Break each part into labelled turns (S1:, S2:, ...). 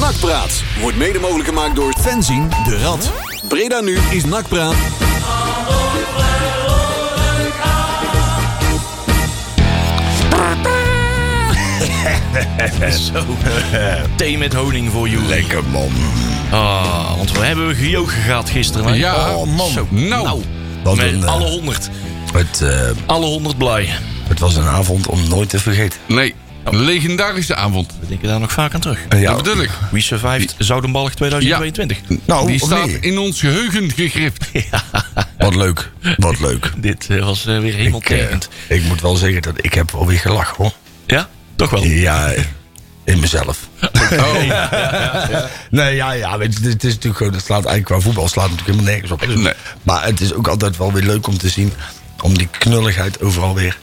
S1: Nakpraat wordt mede mogelijk gemaakt door fanzine de Rad. Breda nu is Nakpraat.
S2: Zo. Thee met honing voor jullie.
S3: Lekker man.
S2: Ah, want we hebben gejogen gehad gisteren. hè?
S3: Ja,
S2: Oh,
S3: man.
S2: zo.
S3: Nou.
S2: nou.
S3: Wat
S2: Met
S3: een, eh,
S2: alle honderd.
S3: Het, eh,
S2: Alle honderd blij.
S3: het was een avond om nooit te vergeten.
S4: Nee, legendarische avond.
S2: We denken daar nog vaak aan terug.
S3: Ja.
S4: Dat bedoel ik.
S2: We survived Zoudenbalg 2022.
S3: Nou,
S4: Die
S3: of
S4: staat
S3: nee?
S4: in ons geheugen gegrift.
S3: Wat leuk. Wat leuk.
S2: Dit eh, was eh, weer helemaal
S3: Ik, eh,
S2: tekend.
S3: ik moet wel zeggen dat ik heb alweer gelachen hoor.
S2: Ja? Toch wel.
S3: Ja, in mezelf.
S4: Oh.
S3: Nee, ja, ja, weet je, het is natuurlijk gewoon, het slaat eigenlijk qua voetbal slaat natuurlijk helemaal nergens op.
S4: Nee.
S3: Maar het is ook altijd wel weer leuk om te zien, om die knulligheid overal weer.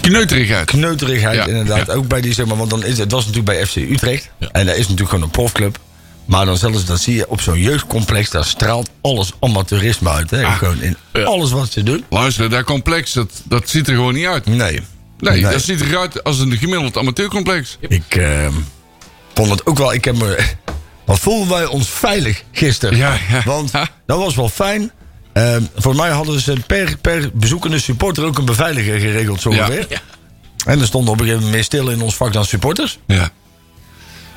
S4: Kneuterigheid.
S3: Kneuterigheid
S4: Ja,
S3: inderdaad, ook bij die, zeg maar, want dan is, het was natuurlijk bij FC Utrecht. En dat is natuurlijk gewoon een profclub. Maar dan zelfs, dat zie je op zo'n jeugdcomplex, daar straalt alles amateurisme uit. Hè?
S4: Ah,
S3: Gewoon in
S2: Ja.
S3: alles wat ze doen.
S4: Luister, dat complex, dat, dat ziet er gewoon niet uit. Nee,
S3: Nee.
S4: dat ziet eruit als een gemiddeld amateurcomplex.
S3: Ik ehm, vond het ook wel. Ik heb me. Wat voelden wij ons veilig gisteren?
S4: Ja, ja.
S3: Want
S4: Ja.
S3: dat was wel fijn. Ehm, voor mij hadden ze per, per bezoekende supporter ook een beveiliger geregeld, zo
S4: Ja.
S3: ongeveer. En er stonden op een gegeven moment meer stil in ons vak dan supporters.
S4: Ja.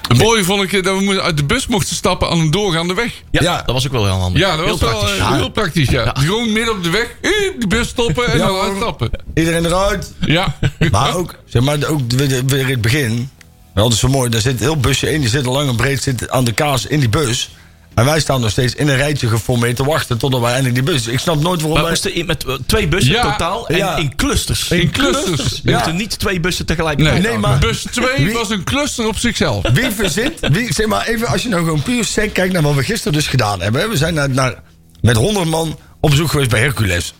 S4: Het mooie vond ik eh, dat we mo- uit de bus mochten stappen aan een doorgaande weg.
S2: Ja,
S3: Ja.
S2: dat was ook wel heel handig.
S4: Ja, dat
S2: Heel
S4: was wel
S2: praktisch.
S4: eh, heel praktisch. Ja. Gewoon midden op de weg, eh, de bus stoppen en
S3: Ja,
S4: dan
S3: hoor.
S4: uitstappen.
S3: Iedereen eruit.
S4: Ja.
S3: Maar ook, zeg maar, ook weer weer in het begin. Dat is zo mooi. Daar zit een heel busje in. Die zit al lang en breed zit aan de kaas in die bus. En wij staan nog steeds in een rijtje geformeerd te wachten totdat wij eindelijk die bus. Ik snap nooit waarom
S2: Maar we
S3: wij...
S2: moesten in- met eh, twee bussen
S4: Ja.
S2: totaal en
S3: Ja.
S2: in clusters.
S4: In clusters.
S2: Je
S3: Ja.
S2: moet er niet twee bussen tegelijk
S4: Nee,
S3: Nee, maar-
S4: bus 2
S3: Wie-
S4: was een cluster op zichzelf.
S3: Wie verzint, wie, zeg maar even, als je nou gewoon puur sec kijkt naar wat we gisteren dus gedaan hebben. hè. We zijn naar, naar, met 100 man op zoek geweest bij Hercules.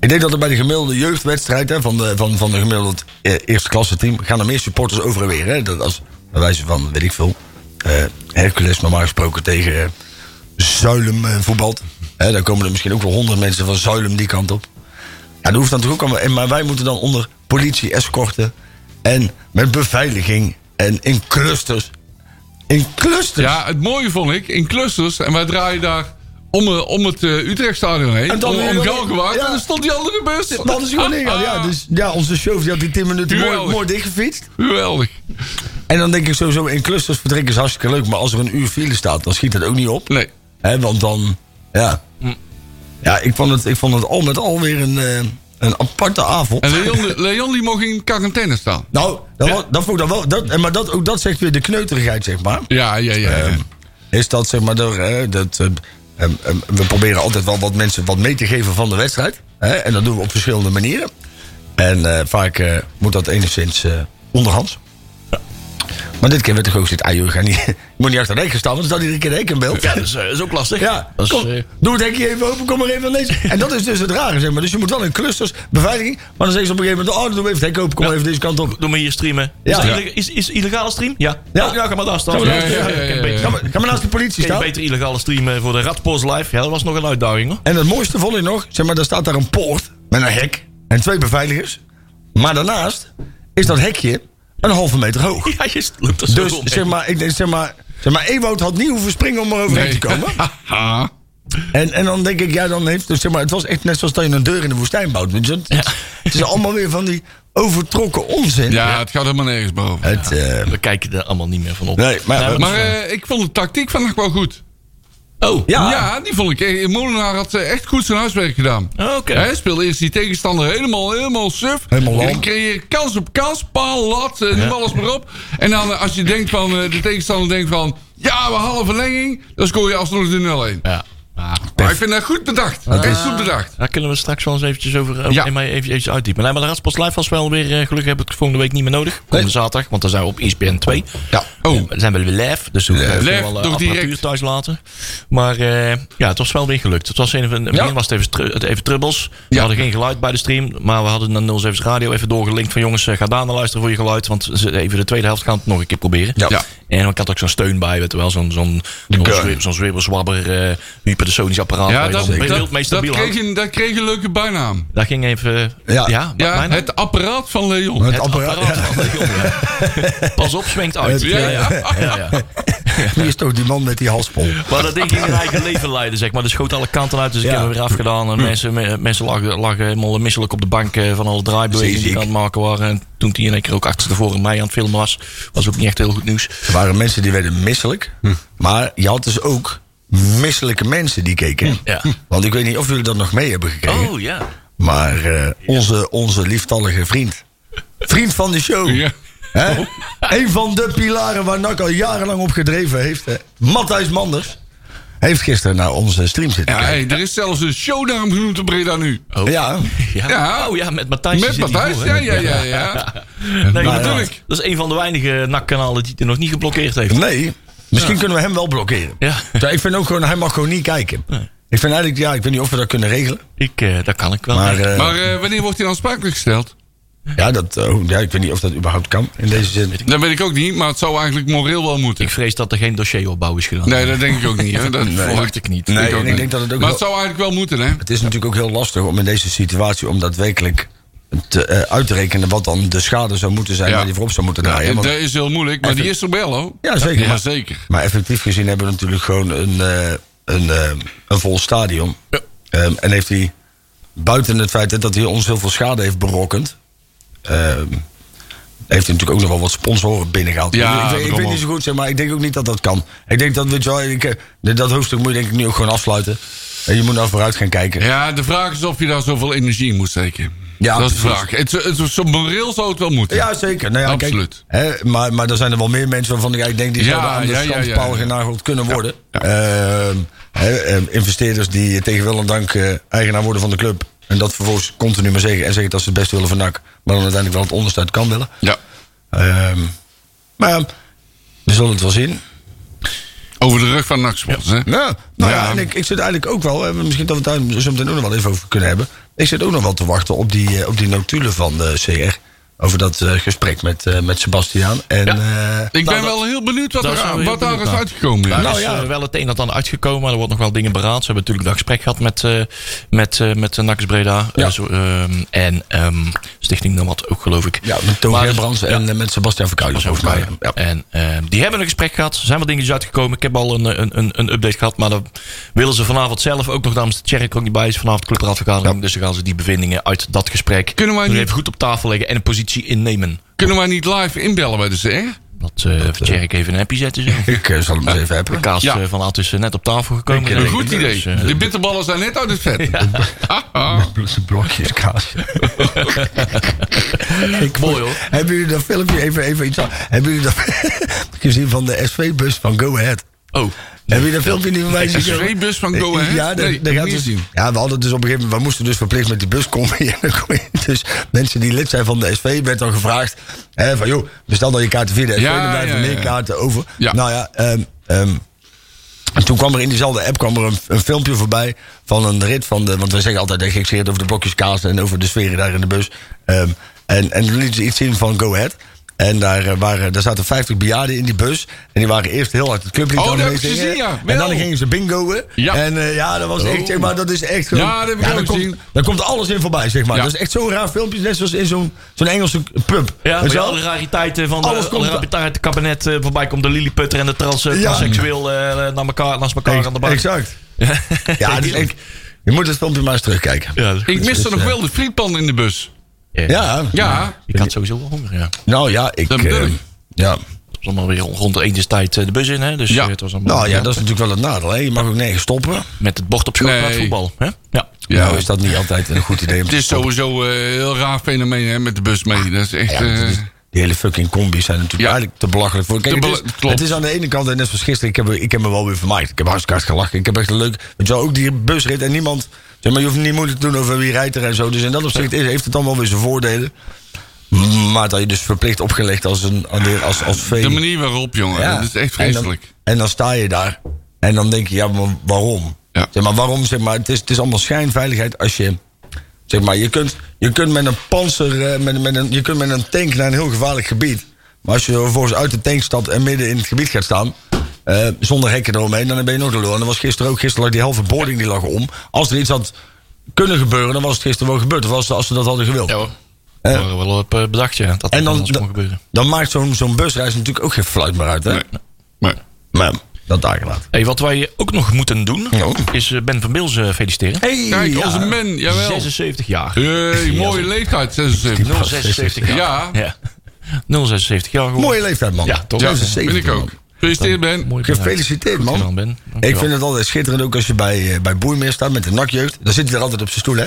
S3: Ik denk dat er bij de gemiddelde jeugdwedstrijd hè, van, de, van, van de gemiddeld eh, eerste klasse team gaan er meer supporters over en weer. Hè. Dat als bij wijze van, weet ik veel, eh, Hercules normaal gesproken tegen eh, Zuilem eh, voetbalt. Hè, daar komen er misschien ook wel 100 mensen van Zuilem die kant op. Ja, dat hoeft dan toch ook allemaal. en- Maar wij moeten dan onder politie, escorten en met beveiliging en in clusters. In clusters.
S4: Ja, het mooie vond ik, in clusters, en wij draaien daar om, eh, om het eh, Utrechtstadion heen,
S3: En dan
S4: om,
S3: weer-
S4: om Galgenwaard,
S3: ja.
S4: en dan stond die andere bus. Ah,
S3: Dat is gewoon ding. Ja, dus, ja, onze show die had die 10 minuten mooi,
S4: Geweldig.
S3: mooi dichtgefietst.
S4: Geweldig.
S3: En dan denk ik sowieso, in clusters vertrekken is hartstikke leuk. Maar als er een uur file staat, dan schiet dat ook niet op.
S4: Nee.
S3: Hè, want dan, ja.
S4: Hm.
S3: Ja, ik vond het, ik vond het al met al weer een, eh, een aparte avond.
S4: En Leon, Leon die mocht in quarantaine staan.
S3: Nou, dat, was- dat vond ik dan wel. Dat, en maar dat, ook dat zegt weer de kneuterigheid, zeg maar.
S4: Ja, ja, ja. ja.
S3: Ehm, is dat zeg maar door, hè, dat, ehm, ehm, ehm, we proberen altijd wel wat mensen wat mee te geven van de wedstrijd. Hè, en dat doen we op verschillende manieren. En eh, vaak eh, moet dat enigszins eh, onderhands. Maar dit keer werd er gewoon zit, ah joh, ga niet, je moet niet achter de hek staan, want er staat iedere keer een hek in beeld.
S2: Ja, dat is, eh, dat is ook lastig.
S3: Ja,
S2: Dat is,
S3: kom,
S2: eh,
S3: doe het hekje even open, kom maar even aan deze. En dat is dus het rare, zeg maar. Dus je moet wel in clusters, beveiliging. Maar dan zeggen ze op een gegeven moment, oh, doe even het hek open, kom maar even deze kant op.
S2: Doe maar hier streamen.
S3: Ja.
S2: Is,
S3: Ja.
S2: dat ille- is, is illegale stream? Ja.
S3: Ja.
S2: ja ga maar daar staan.
S3: Ga maar daar
S4: staan. Ja, ja, ja,
S2: Kan
S4: ja,
S2: beter-
S4: ja.
S3: Ga maar, ga maar naast de politie
S2: kan je
S3: staan.
S2: beter illegale streamen voor de Radpost Live? Ja, dat was nog een uitdaging hoor.
S3: En het mooiste vond ik nog, zeg maar, daar staat daar een poort met een hek en twee beveiligers. Maar daarnaast is dat hekje een halve meter hoog.
S2: Ja, je loopt er zo
S3: Dus
S2: omheen.
S3: zeg maar, ik denk, zeg maar, zeg maar, Ewout had niet hoeven springen om er overheen te komen.
S4: Haha.
S3: En, en dan denk ik, ja, dan heeft, dus zeg maar, het was echt net zoals dat je een deur in de woestijn bouwt. weet je. Het, het is allemaal weer van die overtrokken onzin.
S4: ja, het gaat helemaal nergens boven.
S3: Het, eh,
S2: We kijken er allemaal niet meer van op.
S3: nee, maar,
S2: Nou,
S4: Maar eh, ik vond de tactiek vandaag wel goed.
S2: Oh,
S3: Ja.
S4: Ja, die vond ik. echt- Molenaar had eh, echt goed zijn huiswerk gedaan.
S2: Oké.
S4: Hij speelde eerst die tegenstander helemaal, helemaal suf.
S3: Helemaal lam.
S4: En creëer kans op kans, paal, lat, eh, noem alles maar op. En dan eh, als je denkt van, eh, de tegenstander denkt van... Ja, we halen verlenging. Dan scoor je alsnog de 0-1.
S2: ja.
S4: Maar ik vind dat goed bedacht. Echt goed bedacht.
S2: Daar kunnen we straks wel eens eventjes over over-
S4: Ja.
S2: en mij even, even uitdiepen. Nee, maar de Radpost Live was wel weer... eh, gelukkig heb ik het volgende week niet meer nodig. Komende zaterdag, want dan zijn we op E ESPN 2.
S3: Ja.
S4: Oh.
S2: Dan zijn we weer live, dus we kunnen
S4: Live,
S2: wel eh,
S4: toch
S2: apparatuur
S4: direct.
S2: thuis laten. Maar eh, ja, het was wel weer gelukt. Het was een, van- begin was het even, tru- het even trubbels. We
S4: Ja.
S2: hadden geen geluid bij de stream, maar we hadden naar 07 Radio even doorgelinkt van jongens, eh, ga daar naar luisteren voor je geluid, want ze- even de tweede helft gaan we het nog een keer proberen.
S3: Ja.
S4: Ja.
S2: En ik had ook zo'n steun bij, weet je wel, zo'n zo'n zo'n
S3: gun.
S2: zwib- zo'n zwibbelzwabber, eh, type de Sonisch apparaat.
S4: Ja,
S2: waar je
S4: dat,
S2: dan
S4: dat,
S2: beeld mee
S4: dat,
S2: stabiel
S4: kreeg
S2: houdt.
S4: een, dat kreeg een leuke bijnaam.
S2: Dat ging even...
S3: Ja.
S2: Ja, ja,
S4: Ja,
S2: mijn-
S4: het apparaat van Leon.
S3: Het
S2: het
S3: apparaat.
S2: apparaat van de jongen. Ja. Pas op, zwengt uit.
S3: Het,
S2: Ja,
S4: eh,
S2: ja. Ja, ja.
S3: Wie is toch die man met die halspol?
S2: Maar dat ding ging een eigen leven leiden, zeg maar. Dus schoot alle kanten uit, dus ik
S3: Ja.
S2: heb hem weer afgedaan. En mensen, me- mensen lagen, lagen helemaal misselijk op de bank eh, van alle draaibewegingen die ik aan het maken waren. En toen die in één keer ook achter tevoren mij aan het filmen was, was ook niet echt heel goed nieuws.
S3: Er waren mensen die werden misselijk.
S4: Hm.
S3: Maar je had dus ook misselijke mensen die
S4: Hm.
S3: keken.
S2: Ja.
S3: Want ik weet niet of jullie dat nog mee hebben gekregen.
S2: Oh ja.
S3: Maar eh, onze, onze lieftallige vriend. Vriend van de show.
S4: Ja.
S3: Hè? Een van de pilaren waar NAC al jarenlang op gedreven heeft. hè. Matthijs Manders. Heeft gisteren naar onze stream zitten
S4: Ja, oh.
S3: kijken.
S4: hey, er is zelfs een shownaam genoemd op Breda nu.
S3: Ja,
S2: ja.
S4: Ja.
S2: Oh ja, met Matthijs.
S4: Met
S2: zit hij
S4: Matthijs,
S2: voor,
S4: ja,
S2: hè?
S4: ja, ja, ja.
S2: Nee,
S4: Nou,
S2: dat,
S4: ja.
S2: bedoel ik. dat is een van de weinige NAC-kanalen die het nog niet geblokkeerd heeft.
S3: nee. Misschien kunnen we hem wel blokkeren.
S2: Ja.
S3: Ja, Ik vind ook gewoon, hij mag gewoon niet kijken. Ik vind eigenlijk, ja, ik weet niet of we dat kunnen regelen.
S2: Ik, eh, dat kan ik wel.
S3: Maar, eh,
S4: Maar eh, wanneer wordt hij aansprakelijk gesteld?
S3: ja, dat, eh, ja, ik weet niet of dat überhaupt kan in deze zin.
S4: Dat weet ik ook niet, maar het zou eigenlijk moreel wel moeten.
S2: ik vrees dat er geen dossieropbouw is gedaan.
S4: Nee, dat denk ik ook niet. Hè. Dat
S2: verwacht ik niet.
S3: Nee,
S4: ook
S3: en ik
S4: niet.
S3: denk dat het ook
S4: maar
S3: wel-
S4: het zou eigenlijk wel moeten, hè?
S3: Het is natuurlijk ook heel lastig om in deze situatie om daadwerkelijk te, eh, uit te rekenen wat dan de schade zou moeten zijn
S4: Ja.
S3: waar die voorop zou moeten
S4: Ja,
S3: draaien. want-
S4: dat is heel moeilijk, maar die is er wel, hoor.
S3: ja, zeker.
S4: Ja,
S3: maar,
S4: zeker.
S3: maar effectief gezien hebben we natuurlijk gewoon een, eh, een, eh, een vol stadion.
S4: Ja.
S3: Ehm, en heeft hij, buiten het feit dat hij ons heel veel schade heeft berokkend... ehm, heeft hij natuurlijk ook nog wel wat sponsoren binnengehaald.
S4: Ja,
S3: ik, weet- ik weet
S4: daarom.
S3: niet zo goed, zeg maar ik denk ook niet dat dat kan. Ik denk dat, weet je wel, ik, eh, dat hoofdstuk moet je denk ik nu ook gewoon afsluiten. En je moet nou vooruit gaan kijken.
S4: Ja, de vraag is of je daar zoveel energie in moet steken.
S3: Ja,
S4: dat is de
S3: precies.
S4: vraag. Het, het, het- zo moreel zou het wel moeten.
S3: Ja, zeker. Nou ja, kijk,
S4: Absoluut.
S3: hè, maar, maar er zijn er wel meer mensen waarvan ik eigenlijk denk... die
S4: Ja,
S3: zouden aan de
S4: ja, ja, ja,
S3: schandpaal
S4: ja.
S3: genageld kunnen worden. Ehm, hè, ehm, investeerders die tegen wil en dank eh, eigenaar worden van de club... en dat vervolgens continu maar zeggen... en zeggen dat ze het best willen van NAC... maar dan uiteindelijk wel het onderste uit kan willen.
S4: Ja.
S3: Ehm, maar ja, we zullen het wel zien.
S4: Over de rug van Naxport, hè?
S3: Nou, nou ja,
S4: Ja.
S3: en ik, ik zit eigenlijk ook wel... hè, misschien dat we het daar zo meteen ook nog wel even over kunnen hebben... ik zit ook nog wel te wachten op die, eh, op die notulen van de CR... over dat eh, gesprek met, eh, met Sebastiaan. En, eh,
S4: Ik ben
S2: dat-
S4: wel heel benieuwd wat,
S2: daar
S4: er,
S2: zijn we
S4: aan-
S2: heel
S4: wat daar
S2: benieuwd
S4: is
S2: naar.
S4: uitgekomen. Ja.
S2: Daar
S3: Nou
S2: is
S3: ja.
S2: eh, wel het een en het ander uitgekomen. maar Er wordt nog wel dingen beraad. Ze hebben natuurlijk dat gesprek gehad met, eh met, eh met eh, Nakkes Breda.
S3: Ja.
S2: Eh, zo, ehm, en ehm, Stichting Nomad ook, geloof ik.
S3: Ja, met Toon
S2: Maar-
S3: Gerbrands en eh, met Sebastian Verkuijlen,
S2: Dat was
S3: volgens mij. Ja.
S2: En ehm, die hebben een gesprek gehad. Er zijn wat dingetjes uitgekomen. Ik heb al een, eh, een, een, een update gehad. Maar dan willen ze vanavond zelf ook nog. Dames de Tjerk ook niet bij is. Vanavond clubraadvergadering. Dus dan gaan ze die bevindingen uit dat gesprek.
S4: Kunnen wij
S2: nog
S4: niet-
S2: even goed op tafel leggen. En een positie innemen.
S4: Kunnen wij niet live inbellen bij de CR?
S2: Dat eh Tjerk even een appje zetten. Zo.
S3: Ik eh, zal hem eens even
S2: De
S3: hebben.
S2: kaas
S4: Ja.
S2: eh, van Aad is eh, net op tafel gekomen.
S4: Een
S2: Dus,
S4: goed
S2: eh,
S4: idee.
S2: dus, eh,
S4: de bitterballen zijn net uit het vet. Haha.
S3: Een blokjes kaas. Ik
S2: Mooi, hoor.
S3: Hebben jullie dat filmpje even, even iets aan? Hebben jullie dat gezien van de SV-bus van Go Ahead?
S2: Oh.
S3: Hebben jullie dat filmpje niet van mij gezien?
S4: SV-bus van Go Ahead?
S3: Ja, daar-
S4: Nee,
S3: daar
S4: ik
S3: gaat
S4: niet
S3: dus-
S4: zien.
S3: ja, we hadden dus op een gegeven moment, we moesten dus verplicht met die bus komen. En dan kon je dus mensen die lid zijn van de SV, werd dan gevraagd: hè, van joh, bestel dan je kaarten via de SV,
S4: Ja,
S3: dan blijven
S4: ja,
S3: meer
S4: ja.
S3: kaarten over.
S4: Ja.
S3: Nou ja, ehm, ehm, en toen kwam er in diezelfde app kwam er een, een filmpje voorbij van een rit van de. Want we zeggen altijd, eh, ik zeg het over de blokjes kaas en over de sferen daar in de bus. Ehm, en, en toen lieten ze iets zien van Go Ahead. En daar, eh, waren, daar zaten 50 bejaarden in die bus. En die waren eerst heel hard het clublied
S4: Oh,
S3: aan
S4: dat
S3: het
S4: heb ik
S3: meezingen.
S4: gezien, ja.
S3: En dan
S4: Wel.
S3: gingen ze bingoen.
S4: Ja.
S3: En eh, ja, dat was echt, zeg maar, dat is echt gewoon...
S4: Ja, dat heb ik ook
S3: daar komt-
S4: gezien.
S3: Daar komt alles in voorbij, zeg maar.
S4: Ja.
S3: Dat is echt zo'n raar filmpje, net zoals in zo'n zo'n Engelse pub.
S2: Ja,
S3: Weet
S2: bij
S3: je wel?
S2: alle rariteiten van de,
S3: Alles
S2: alle
S3: komt-
S2: rariteiten uit het kabinet eh, voorbij komt de lilliputter en de trans, eh,
S3: Ja.
S2: transseksueel eh, naar elkaar, naast elkaar aan de bak.
S3: Exact. Ja, dus ik, je moet het filmpje maar eens terugkijken.
S2: Ja, dat is goed.
S4: Ik mis er nog wel de frietpan in de bus.
S3: Ja,
S4: Ja,
S2: Ik had sowieso wel honger, ja.
S3: nou ja, ik...
S4: Dat bedoel
S3: eh,
S4: ik.
S3: ja.
S2: Het was allemaal weer rond de eendestijd eh, de bus in, hè? Dus
S4: Ja.
S2: eh, het was allemaal,
S3: Nou ja, dat is natuurlijk wel het nadeel. Hè. Je mag ook nergens stoppen.
S2: Met het bord op schoot
S4: Nee.
S2: naar het voetbal, hè? Ja.
S4: Ja.
S3: Nou is dat niet altijd een goed idee. om
S4: het
S3: te
S4: is
S3: stoppen.
S4: sowieso eh, een heel raar fenomeen hè, met de bus mee. Dat is echt...
S3: Ja, dat
S4: eh,
S3: is- die hele fucking combi's zijn natuurlijk
S4: Ja.
S3: eigenlijk te belachelijk voor. Kijk,
S4: Te
S3: het,
S4: bela-
S3: is,
S4: klopt.
S3: het is aan de ene kant, en net zoals gisteren, ik heb, ik heb me wel weer vermaakt. Ik heb hartstikke hard gelachen. Ik heb echt een leuk. Weet je wel, ook die busrit en niemand. Zeg maar, je hoeft niet moeilijk te doen over wie rijdt er en zo. Dus in dat opzicht is- heeft het dan wel weer zijn voordelen. Maar dat je dus verplicht opgelegd als een als, als vee.
S4: de manier waarop, jongen.
S3: Ja.
S4: Dat is echt
S3: En dan-
S4: vreselijk.
S3: En dan, sta je daar. En dan denk je, ja, maar waarom?
S4: Ja.
S3: Zeg maar, waarom? Zeg maar, het, is, het is allemaal schijnveiligheid als je. Zeg maar, je kunt, je kunt met een panzer, eh, met, met een, je kunt met een tank naar een heel gevaarlijk gebied. Maar als je vervolgens uit de tank stapt en midden in het gebied gaat staan. eh, zonder hekken eromheen, dan ben je nog de lul. En dat was gisteren ook. Gisteren lag die halve boarding die lag om. Als er iets had kunnen gebeuren, dan was het gisteren wel gebeurd. Of als, als ze dat hadden gewild.
S2: Ja hoor. We waren wel op eh, bedacht, ja. Dat
S3: en dan,
S2: anders kon gebeuren.
S3: dan, dan maakt zo'n zo'n busreis natuurlijk ook geen fluit meer uit. Hè?
S4: Maar,
S3: Maar dat daar gelaten.
S2: Hey, wat wij ook nog moeten doen,
S3: Ja.
S2: is eh, Ben van Bils eh, feliciteren.
S3: Hey,
S4: kijk, onze men, jawel.
S2: 76 jaar.
S4: Hey, mooie leeftijd, 76.
S2: 076 jaar.
S4: Ja,
S2: Ja. 076 jaar geworden.
S3: Mooie leeftijd, man.
S2: Ja, toch?
S4: ja,
S3: Dat is een
S4: vind ik
S3: 70,
S4: ook.
S3: man.
S4: Gefeliciteerd, Ben.
S2: Mooi gedaan.
S3: Gefeliciteerd,
S2: Goed gedaan,
S3: man.
S2: Ben.
S3: Ik
S2: Dankjewel.
S3: vind het altijd schitterend, ook als je bij, eh, bij Boeimeer staat met de nakjeugd. Dan zit hij er altijd op zijn stoel, hè?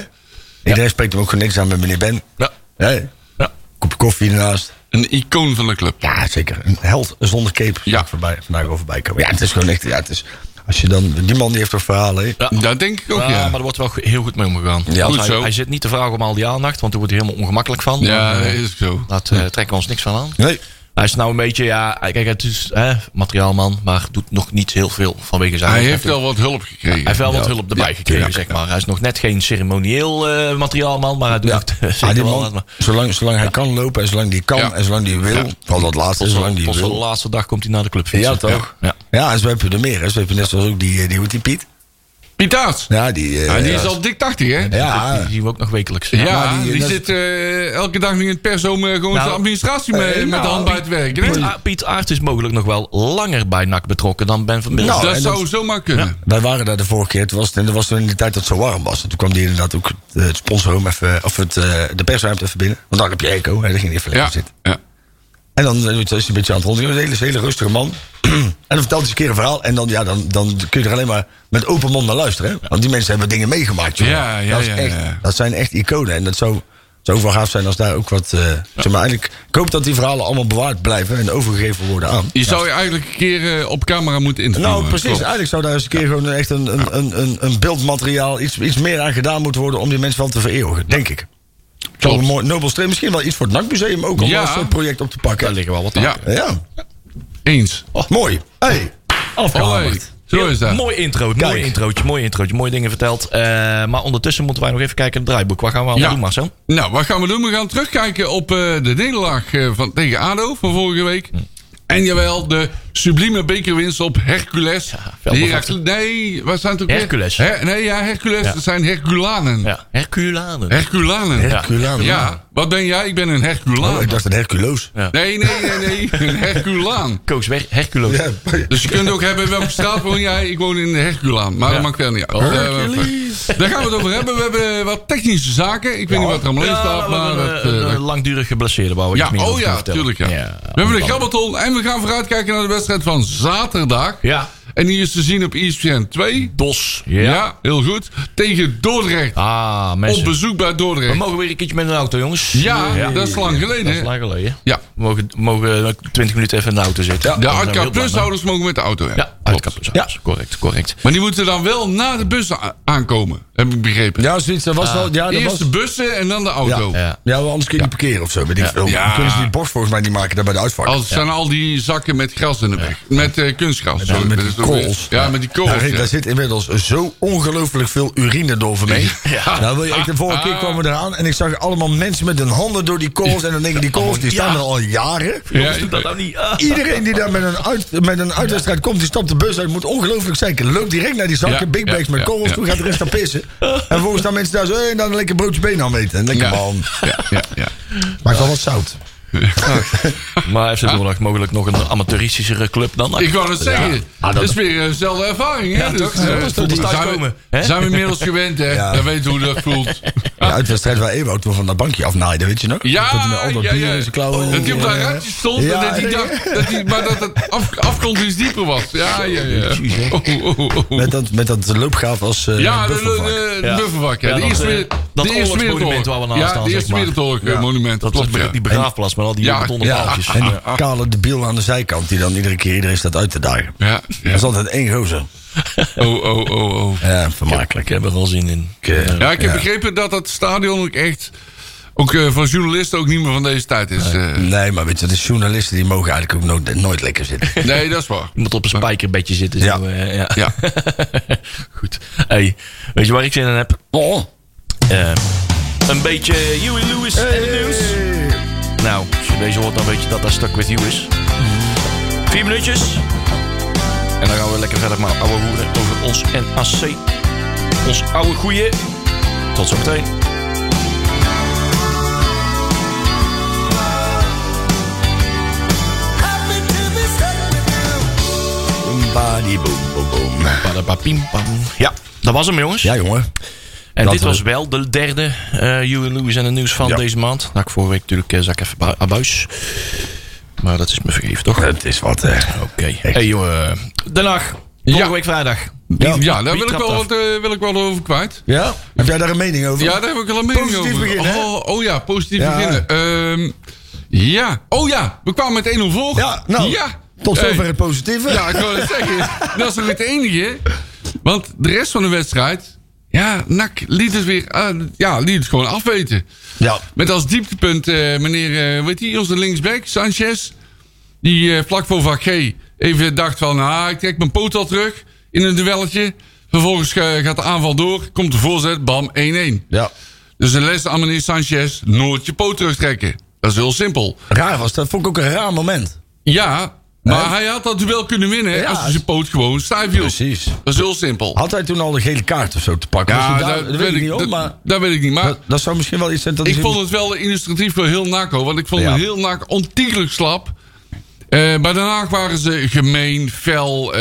S3: Iedereen spreekt hem ook gewoon niks aan met meneer Ben.
S2: Ja.
S3: Hè?
S2: Ja.
S3: Kopje koffie ernaast.
S4: Een icoon van de club.
S3: Ja, zeker. Een held zonder cape.
S4: Ja.
S3: Ja. Voorbij, vandaag over voorbij komen. Ja, het is gewoon echt... Ja, het is, als je dan, die man die heeft toch verhalen, hè?
S4: Dat denk ik ook,
S2: Ja,
S4: ja.
S2: maar er wordt wel ge- heel goed mee omgegaan.
S3: Ja,
S2: Want
S4: goed
S2: hij,
S4: zo.
S2: hij zit niet te vragen om al die aandacht, want daar wordt hij helemaal ongemakkelijk van.
S4: Ja,
S2: Maar,
S4: dat
S2: eh,
S4: is ook zo.
S2: Daar eh, trekken we ons niks van aan.
S3: Nee.
S2: Hij is nou een beetje, ja, kijk, het is hè, materiaalman, maar doet nog niet heel veel vanwege zijn
S4: Hij
S2: eigen
S4: heeft wel wat hulp gekregen.
S2: Hij heeft wel wat hulp erbij gekregen, zeg maar. Hij is nog net geen ceremonieel eh, materiaalman, maar hij doet
S3: Ja.
S2: het eh,
S3: Ah,
S2: zeker
S3: die
S2: wel.
S3: man, zolang, zolang hij kan lopen en zolang die kan
S4: Ja.
S3: en zolang die wil.
S4: Ja.
S3: Van dat laatste,
S2: Tot,
S3: zolang die
S2: tot de
S3: wil.
S2: laatste dag komt hij naar de club
S3: Ja,
S2: fietsen.
S3: toch?
S2: Ja.
S3: Ja, en zwepen er meer. Hè. Zwepen net zoals ook die, eh, die, hoe heet die Piet.
S4: Pietaars.
S3: Ja, die... eh,
S4: Ja, die is
S3: ja.
S4: al dik 80, hè? Ja,
S2: Ja.
S3: Ja,
S2: Die zien we ook nog wekelijks.
S3: maar
S4: die,
S3: die- dat-
S4: zit eh, elke dag nu in het pers om eh, gewoon
S2: Nou,
S4: zijn administratie mee,
S3: eh,
S4: met
S3: nou,
S4: de hand bij het werken. hè?
S2: Piet, A- ah, Piet Aert is mogelijk nog wel langer bij NAC betrokken dan Ben van Bils.
S3: Nou,
S4: dat
S3: en
S4: zou zomaar kunnen.
S3: Wij waren daar de vorige keer. Toen was het, en dat was toen in de tijd dat het zo warm was. En toen kwam die inderdaad ook het, eh, het sponsorhome even, of het, eh, de persruimte even binnen. Want daar heb je eco. En dan ging hij even
S4: Ja.
S3: lekker
S4: Ja.
S3: zitten. En dan eh, is hij een beetje aan het rondgaan. Een hele, hele rustige man. en dan vertelt hij eens een keer een verhaal. En dan, ja, dan, dan kun je er alleen maar met open mond naar luisteren. Hè? Want die mensen hebben dingen meegemaakt. jongen.
S4: Ja, ja,
S3: dat, is
S4: ja,
S3: echt,
S4: ja.
S3: dat zijn echt iconen. En dat zou, zou ook wel gaaf zijn als daar ook wat... eh, zeg maar, eigenlijk, ik hoop dat die verhalen allemaal bewaard blijven en overgegeven worden aan.
S4: Je zou Oh, je eigenlijk een keer eh, op camera moeten interviewen.
S3: Nou, precies.
S4: Klopt.
S3: Eigenlijk zou daar eens een keer gewoon echt een, een, een, een, een beeldmateriaal, iets, iets meer aan gedaan moeten worden om die mensen van te vereeuwigen, denk ik. Zou
S4: Klopt.
S3: een mooi nobel stream, misschien wel iets voor het NAC-museum ook om
S4: Ja.
S3: dat soort project op te pakken.
S2: daar liggen wel wat aan.
S4: Ja,
S3: Ja,
S4: eens.
S3: mooi. Hey.
S4: Allee, Zo is dat.
S2: Mooi intro, mooi
S3: Kijk.
S2: introotje, mooi introotje, mooie dingen verteld. Eh, maar ondertussen moeten wij nog even kijken in het draaiboek. Wat gaan we allemaal
S4: Ja.
S2: doen, Marcel?
S4: Nou, wat gaan we doen? We gaan terugkijken op eh, de nederlaag eh, van, tegen ADO van vorige week.
S2: Hm.
S4: En jawel, de sublieme bekerwinst op Hercules.
S2: wel
S4: Heracles, nee, wat zijn het ook weer?
S2: Hercules.
S4: Her- nee, ja, Hercules.
S2: Ja.
S4: Dat zijn Herculanen.
S2: Ja. Herculanen.
S4: Herculanen. Ja.
S3: Herculaan.
S4: wat ben jij? Ik ben een Herculaan.
S3: Oh, ik dacht een Herculoos.
S2: Ja.
S4: Nee, nee, nee, nee. Een Herculaan.
S2: Coach Her- Hercules.
S3: Ja.
S4: Dus je kunt ook hebben welke straat woon jij. Ik woon in de Herculaan. Maar
S2: Ja. Oh.
S4: dat maakt wel niet uit. Eh, daar gaan we het over hebben. We hebben eh, wat technische zaken. Ik weet niet wat er allemaal in
S2: Ja,
S4: staat.
S2: we
S4: Maar
S2: hebben
S4: dat,
S2: een,
S4: eh,
S2: een langdurig geblesseerde bouwen.
S4: ja, oh ja, tuurlijk ja. We hebben de Grabbelton en we gaan vooruitkijken naar de wedstrijd van zaterdag.
S2: Ja.
S4: En die is te zien op E ESPN 2.
S2: Dos.
S4: Ja, heel goed. Tegen Dordrecht.
S2: Ah,
S4: op
S2: mensen.
S4: bezoek bij
S2: We
S4: Dordrecht.
S2: mogen weer een keertje met een auto, jongens.
S4: Ja, dat is lang geleden.
S2: Dat is
S4: hè?
S2: lang geleden.
S4: Ja.
S2: We mogen, mogen 20 minuten even in de auto zitten.
S4: De
S2: Dan zijn we heel
S4: Artka
S2: blij, man.
S4: Plus-houders mogen met de auto. hebben.
S2: Ja, Artka Plus. Ja, correct, correct.
S4: Maar die moeten dan wel na de bus a- aankomen, heb ik begrepen.
S3: Ja, zoiets. Dat was wel. Ja, Ah, dat
S4: Eerst
S3: was,
S4: de bussen en dan de auto.
S2: Ja.
S3: ja wel, anders kun je niet parkeren of zo. Weet ik veel.
S4: Ja. Oh.
S3: Dan kunnen ze die borst volgens mij niet maken daar bij de uitvaart.
S4: Al zijn al die zakken met gras in de weg. Met eh, kunstgras.
S3: Ja,
S4: Zo,
S3: met
S4: dat
S3: die
S4: is ook-
S3: kools.
S4: Ja, met die
S3: Ja,
S4: kools.
S3: Rick,
S4: ja.
S3: daar zit inmiddels zo ongelooflijk veel urine door van mee.
S2: Ja.
S3: Nou, wil je, ik, de vorige keer kwamen we eraan en ik zag allemaal mensen met hun handen door die kools. En dan denk ik, die kools die staan er al jaren.
S4: Ja,
S2: Doe dat nou niet. Ah.
S3: Iedereen die daar met een, uit, met een uitwedstrijd komt, die stapt de bus uit. Moet ongelooflijk zijn. Loopt direct naar die zakken,
S4: Ja,
S3: big
S4: ja,
S3: bags met
S4: ja,
S3: kools.
S4: ja.
S3: Toen gaat de rest aan pissen. En volgens staan mensen daar zo, hey, dan een lekker broodje been aan eten. En lekker
S4: Ja.
S3: man.
S4: ja, ja, ja.
S3: Maakt wel wat zout.
S2: Maar heeft donderdag mogelijk nog een amateuristischere club dan?
S4: Ah. Ik wou het zeggen.
S3: Ah,
S4: dat is weer eh, dezelfde ervaring. hè?
S2: Ja, toch?
S4: eh,
S2: Ja, dat is toch die
S4: zijn, we,
S2: thuiskomen, hè?
S4: zijn we inmiddels gewend, hè?
S3: Ja.
S4: Dan weten we hoe dat voelt.
S3: De uitwedstrijd waar Ewout toen van dat bankje afnaaide, weet je nog?
S4: Ja,
S3: Tot hij met al dat
S4: ja,
S3: bier
S4: ja.
S3: in zijn klauwen.
S4: dat hij op dat
S3: Ja.
S4: randje stond
S3: Ja,
S4: en dat hij
S3: ja,
S4: dacht, dat hij, maar dat het af, afgrond iets dieper was. Ja, ja, ja. Oh, oh, oh, oh.
S3: Met dat, met dat loopgaaf als eh
S4: Ja, de,
S3: buffelvak.
S4: de, de
S2: Ja.
S4: buffervak. Ja.
S2: Ja,
S4: de
S2: dat,
S4: eerste,
S2: eh,
S4: wereld-
S2: dat
S4: de eerste
S2: oorlogsmonument
S4: Wereldoorlog.
S2: waar we naast
S4: ja,
S2: staan,
S4: de Eerste
S2: zeg maar.
S4: Wereldoorlog eh,
S3: Ja.
S4: monument.
S2: Dat
S4: klopt,
S2: was
S4: ja.
S2: die begraafplaats met al die
S4: Ja,
S2: betonnen
S3: Ja, dus-
S2: paaltjes.
S3: en die kale debiel aan de zijkant die dan iedere keer iedereen staat uit te dagen.
S4: Ja, ja.
S3: Dat is altijd één gozer.
S4: Oh, oh, oh, oh.
S3: Ja,
S2: Makkelijk,
S3: vermakelijk. Eh,
S2: ik heb er wel zin in.
S3: Ja.
S4: Ja, ik heb begrepen dat dat stadion ook echt... Ook eh, van journalisten ook niet meer van deze tijd is. eh.
S3: Nee, maar weet je, de journalisten die mogen eigenlijk ook nooit, nooit lekker zitten.
S4: nee, dat is waar.
S2: Je moet op een spijkerbedje zitten.
S3: Ja.
S2: Zo, eh, ja.
S4: Ja.
S2: Goed. Hey, weet je waar ik zin in heb? Eh, een beetje Huey Lewis en de nieuws. Nou, als je deze hoort, dan weet je dat dat stuk with you is. Vier minuutjes. En dan gaan we lekker verder maar ouwe hoeren over ons NAC. Ons oude goeie. Tot zometeen.
S5: Happy to be stuck with you.
S3: Badi boom, boom, boom.
S2: Padapapim, pam. Ja, dat was hem jongens.
S3: Ja, jongen.
S2: en
S3: dat
S2: dit
S3: was-
S2: was wel de derde eh You and Louis en het nieuws van
S3: Ja.
S2: deze maand. Nou, ik vorige week natuurlijk eh, zak even bui- abuis. Maar dat is me vergeven, toch? Oké.
S3: Het is wat, eh, hè.
S2: Hey jongen. Den Haag. Vorige
S4: Ja.
S2: week vrijdag.
S4: Ja, daar
S2: Wie
S4: wil ik,
S2: trapt
S4: wel
S2: af?
S4: wat, eh, wil ik wel over kwijt.
S3: Ja? Heb jij daar een mening over?
S4: Ja, daar heb ik al een mening
S3: Positief
S4: over.
S3: beginnen, hè?
S4: oh, oh ja, positief
S3: Ja.
S4: beginnen. Ehm, ja. Oh ja, we kwamen met 1-0 voor.
S3: Ja, nou,
S4: Ja.
S3: tot zover
S4: Hey.
S3: het positieve.
S4: Ja, ik wil het zeggen. Dat is nog het enige. Want de rest van de wedstrijd... Ja, NAC liet het weer... eh, ja, liet het gewoon afweten.
S3: Ja.
S4: Met als dieptepunt eh, meneer... eh weet je, onze linksback, Sanchez. Die eh, vlak voor Van G even dacht van... Ah, ik trek mijn poot al terug in een duelletje. Vervolgens eh, gaat de aanval door. Komt de voorzet, bam, 1-1.
S3: Ja.
S4: Dus de les aan meneer Sanchez... Nooit je poot terugtrekken. Dat is heel simpel.
S3: Raar was, dat vond ik ook een raar moment.
S4: Ja, maar
S3: Hè?
S4: hij had dat duel kunnen winnen
S3: Ja.
S4: als hij zijn poot gewoon stijf hield.
S3: Precies.
S4: Dat is heel simpel.
S3: Had hij toen al de gele kaart of zo te pakken? Was hij daar- dat, weet ik niet, hoor,
S4: dat,
S3: maar...
S4: dat weet ik niet. Maar
S3: Dat, dat zou misschien wel iets zijn... Dat
S4: ik
S3: is-
S4: vond het wel illustratief voor heel NACO. Want ik vond
S3: Ja.
S4: het heel NAC ontiegelijk slap. Eh, maar daarna waren ze gemeen, fel. eh,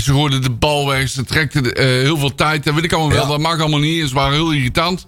S4: ze gooiden de bal weg. Ze trekten de- eh, heel veel tijd. Dat weet ik allemaal
S3: Ja.
S4: wel. Dat mag allemaal niet. Ze waren heel irritant.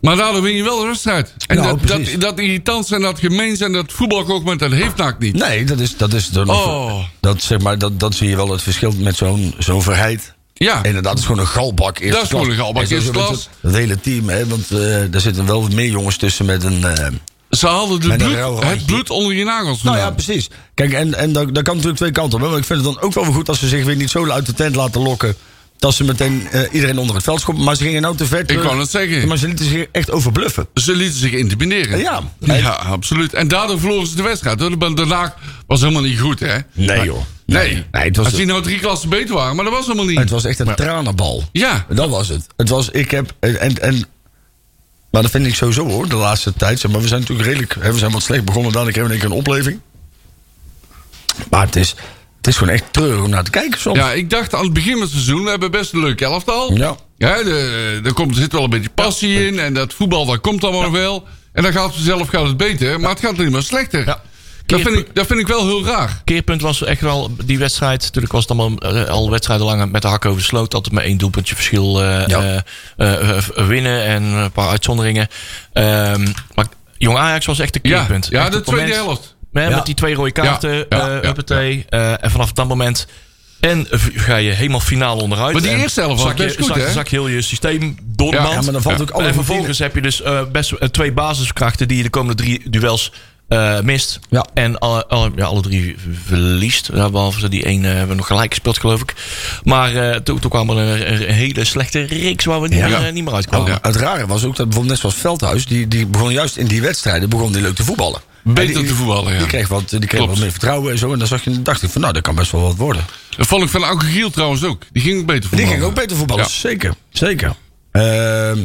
S4: Maar daardoor win je wel de wedstrijd. En
S3: Nou,
S4: dat, dat,
S3: precies.
S4: dat irritant zijn, dat gemeen zijn, dat voetbalkoogment, dat heeft NAC niet.
S3: Nee, dat is... Dat, is dan
S4: Oh.
S3: dat, zeg maar, dat, dat zie je wel het verschil met zo'n zo'n verheid.
S4: Ja.
S3: Inderdaad, het is gewoon een galbak eerste
S4: Dat is gewoon
S3: klas.
S4: een galbak
S3: En zo
S4: eerste
S3: zit het-
S4: klas.
S3: Het hele team, hè. Want eh daar zitten wel meer jongens tussen met een... eh,
S4: Ze hadden de
S3: Met een
S4: bloed-
S3: rauw randje.
S4: het bloed onder je nagels
S3: Nou ja,
S4: vandaan.
S3: precies. Kijk, en, en dat, dat kan natuurlijk twee kanten op. hè. Maar ik vind het dan ook wel weer goed als ze zich weer niet zo uit de tent laten lokken. Dat ze meteen eh, iedereen onder het veld schoppen. Maar ze gingen nou te ver. terug.
S4: wou net zeggen.
S3: Maar ze lieten zich echt overbluffen.
S4: Ze lieten zich intimideren.
S3: Ja.
S4: ja absoluut. En daardoor verloren ze de wedstrijd. hoor. De, de laag was helemaal niet goed, hè?
S3: Nee, joh.
S4: Nee.
S3: Nee, het was-
S4: Als die nou drie klassen beter waren, maar dat was helemaal niet.
S3: Het was echt een tranenbal.
S4: Ja.
S3: Dat was het. Het was, ik heb, en, en- en, maar dat vind ik sowieso hoor, de laatste tijd. Zeg maar we zijn natuurlijk redelijk, hè, we zijn wat slecht begonnen. Dadelijk hebben we in één keer een opleving. Maar het is, het is gewoon echt treurig om naar te kijken soms.
S4: Ja, ik dacht aan het begin van het seizoen, we hebben best een leuk elftal.
S3: Ja.
S4: ja de- er, komt, er zit wel een beetje passie in en dat voetbal, dat komt allemaal nog wel. En dan gaat vanzelf gaat het beter, maar het gaat alleen maar slechter.
S2: Ja.
S4: Dat, vind ik, dat vind ik wel heel raar.
S2: keerpunt was echt wel die wedstrijd. Natuurlijk was het allemaal eh, al wedstrijden lang met de hak over de sloot. Altijd maar één doelpuntje verschil eh,
S3: Ja.
S2: eh, eh, winnen en een paar uitzonderingen. Ehm, maar Jong Ajax was echt een
S4: Ja,
S2: keerpunt.
S4: ja,
S2: Echt
S4: de
S2: op het moment,
S4: tweede helft.
S2: hè,
S3: Ja.
S2: Met die twee rode kaarten,
S4: Ja,
S2: ja,
S4: ja, ja,
S2: en vanaf dat moment... En v- ga je helemaal finaal onderuit.
S4: Maar die
S2: En
S4: eerste helft was
S2: zak je-
S4: best goed,
S2: zak,
S4: hè?
S2: zak je heel je systeem door de
S4: Ja,
S2: mand.
S3: ja, maar dan valt ook alle
S2: En
S3: routine.
S2: vervolgens heb je dus eh, best eh, twee basiskrachten... die je de komende drie duels eh, mist.
S3: Ja.
S2: En alle, alle- ja, alle drie verliest. Ja, behalve ze die één eh, hebben we nog gelijk gespeeld, geloof ik. Maar eh, toen, toen kwam er een, een hele slechte reeks... waar we niet,
S3: Ja. Oh,
S2: meer, eh, niet meer uitkwamen.
S4: Ja.
S3: Nou, Het rare was ook dat bijvoorbeeld net zoals Veldhuis... die, die begon juist in die wedstrijden begon die leuk te voetballen.
S4: Beter
S3: En die-
S4: te voetballen, ja.
S3: Die kreeg, wat, die kreeg
S4: Klopt.
S3: wat meer vertrouwen en zo. En dan zag je, dacht ik van nou, dat kan best wel wat worden.
S4: Dat vond ik van Auke Giel trouwens ook. Die ging ook beter
S3: Die
S4: voetballen.
S3: ging ook beter voetballen,
S4: Ja.
S3: zeker. Zeker. Ehm,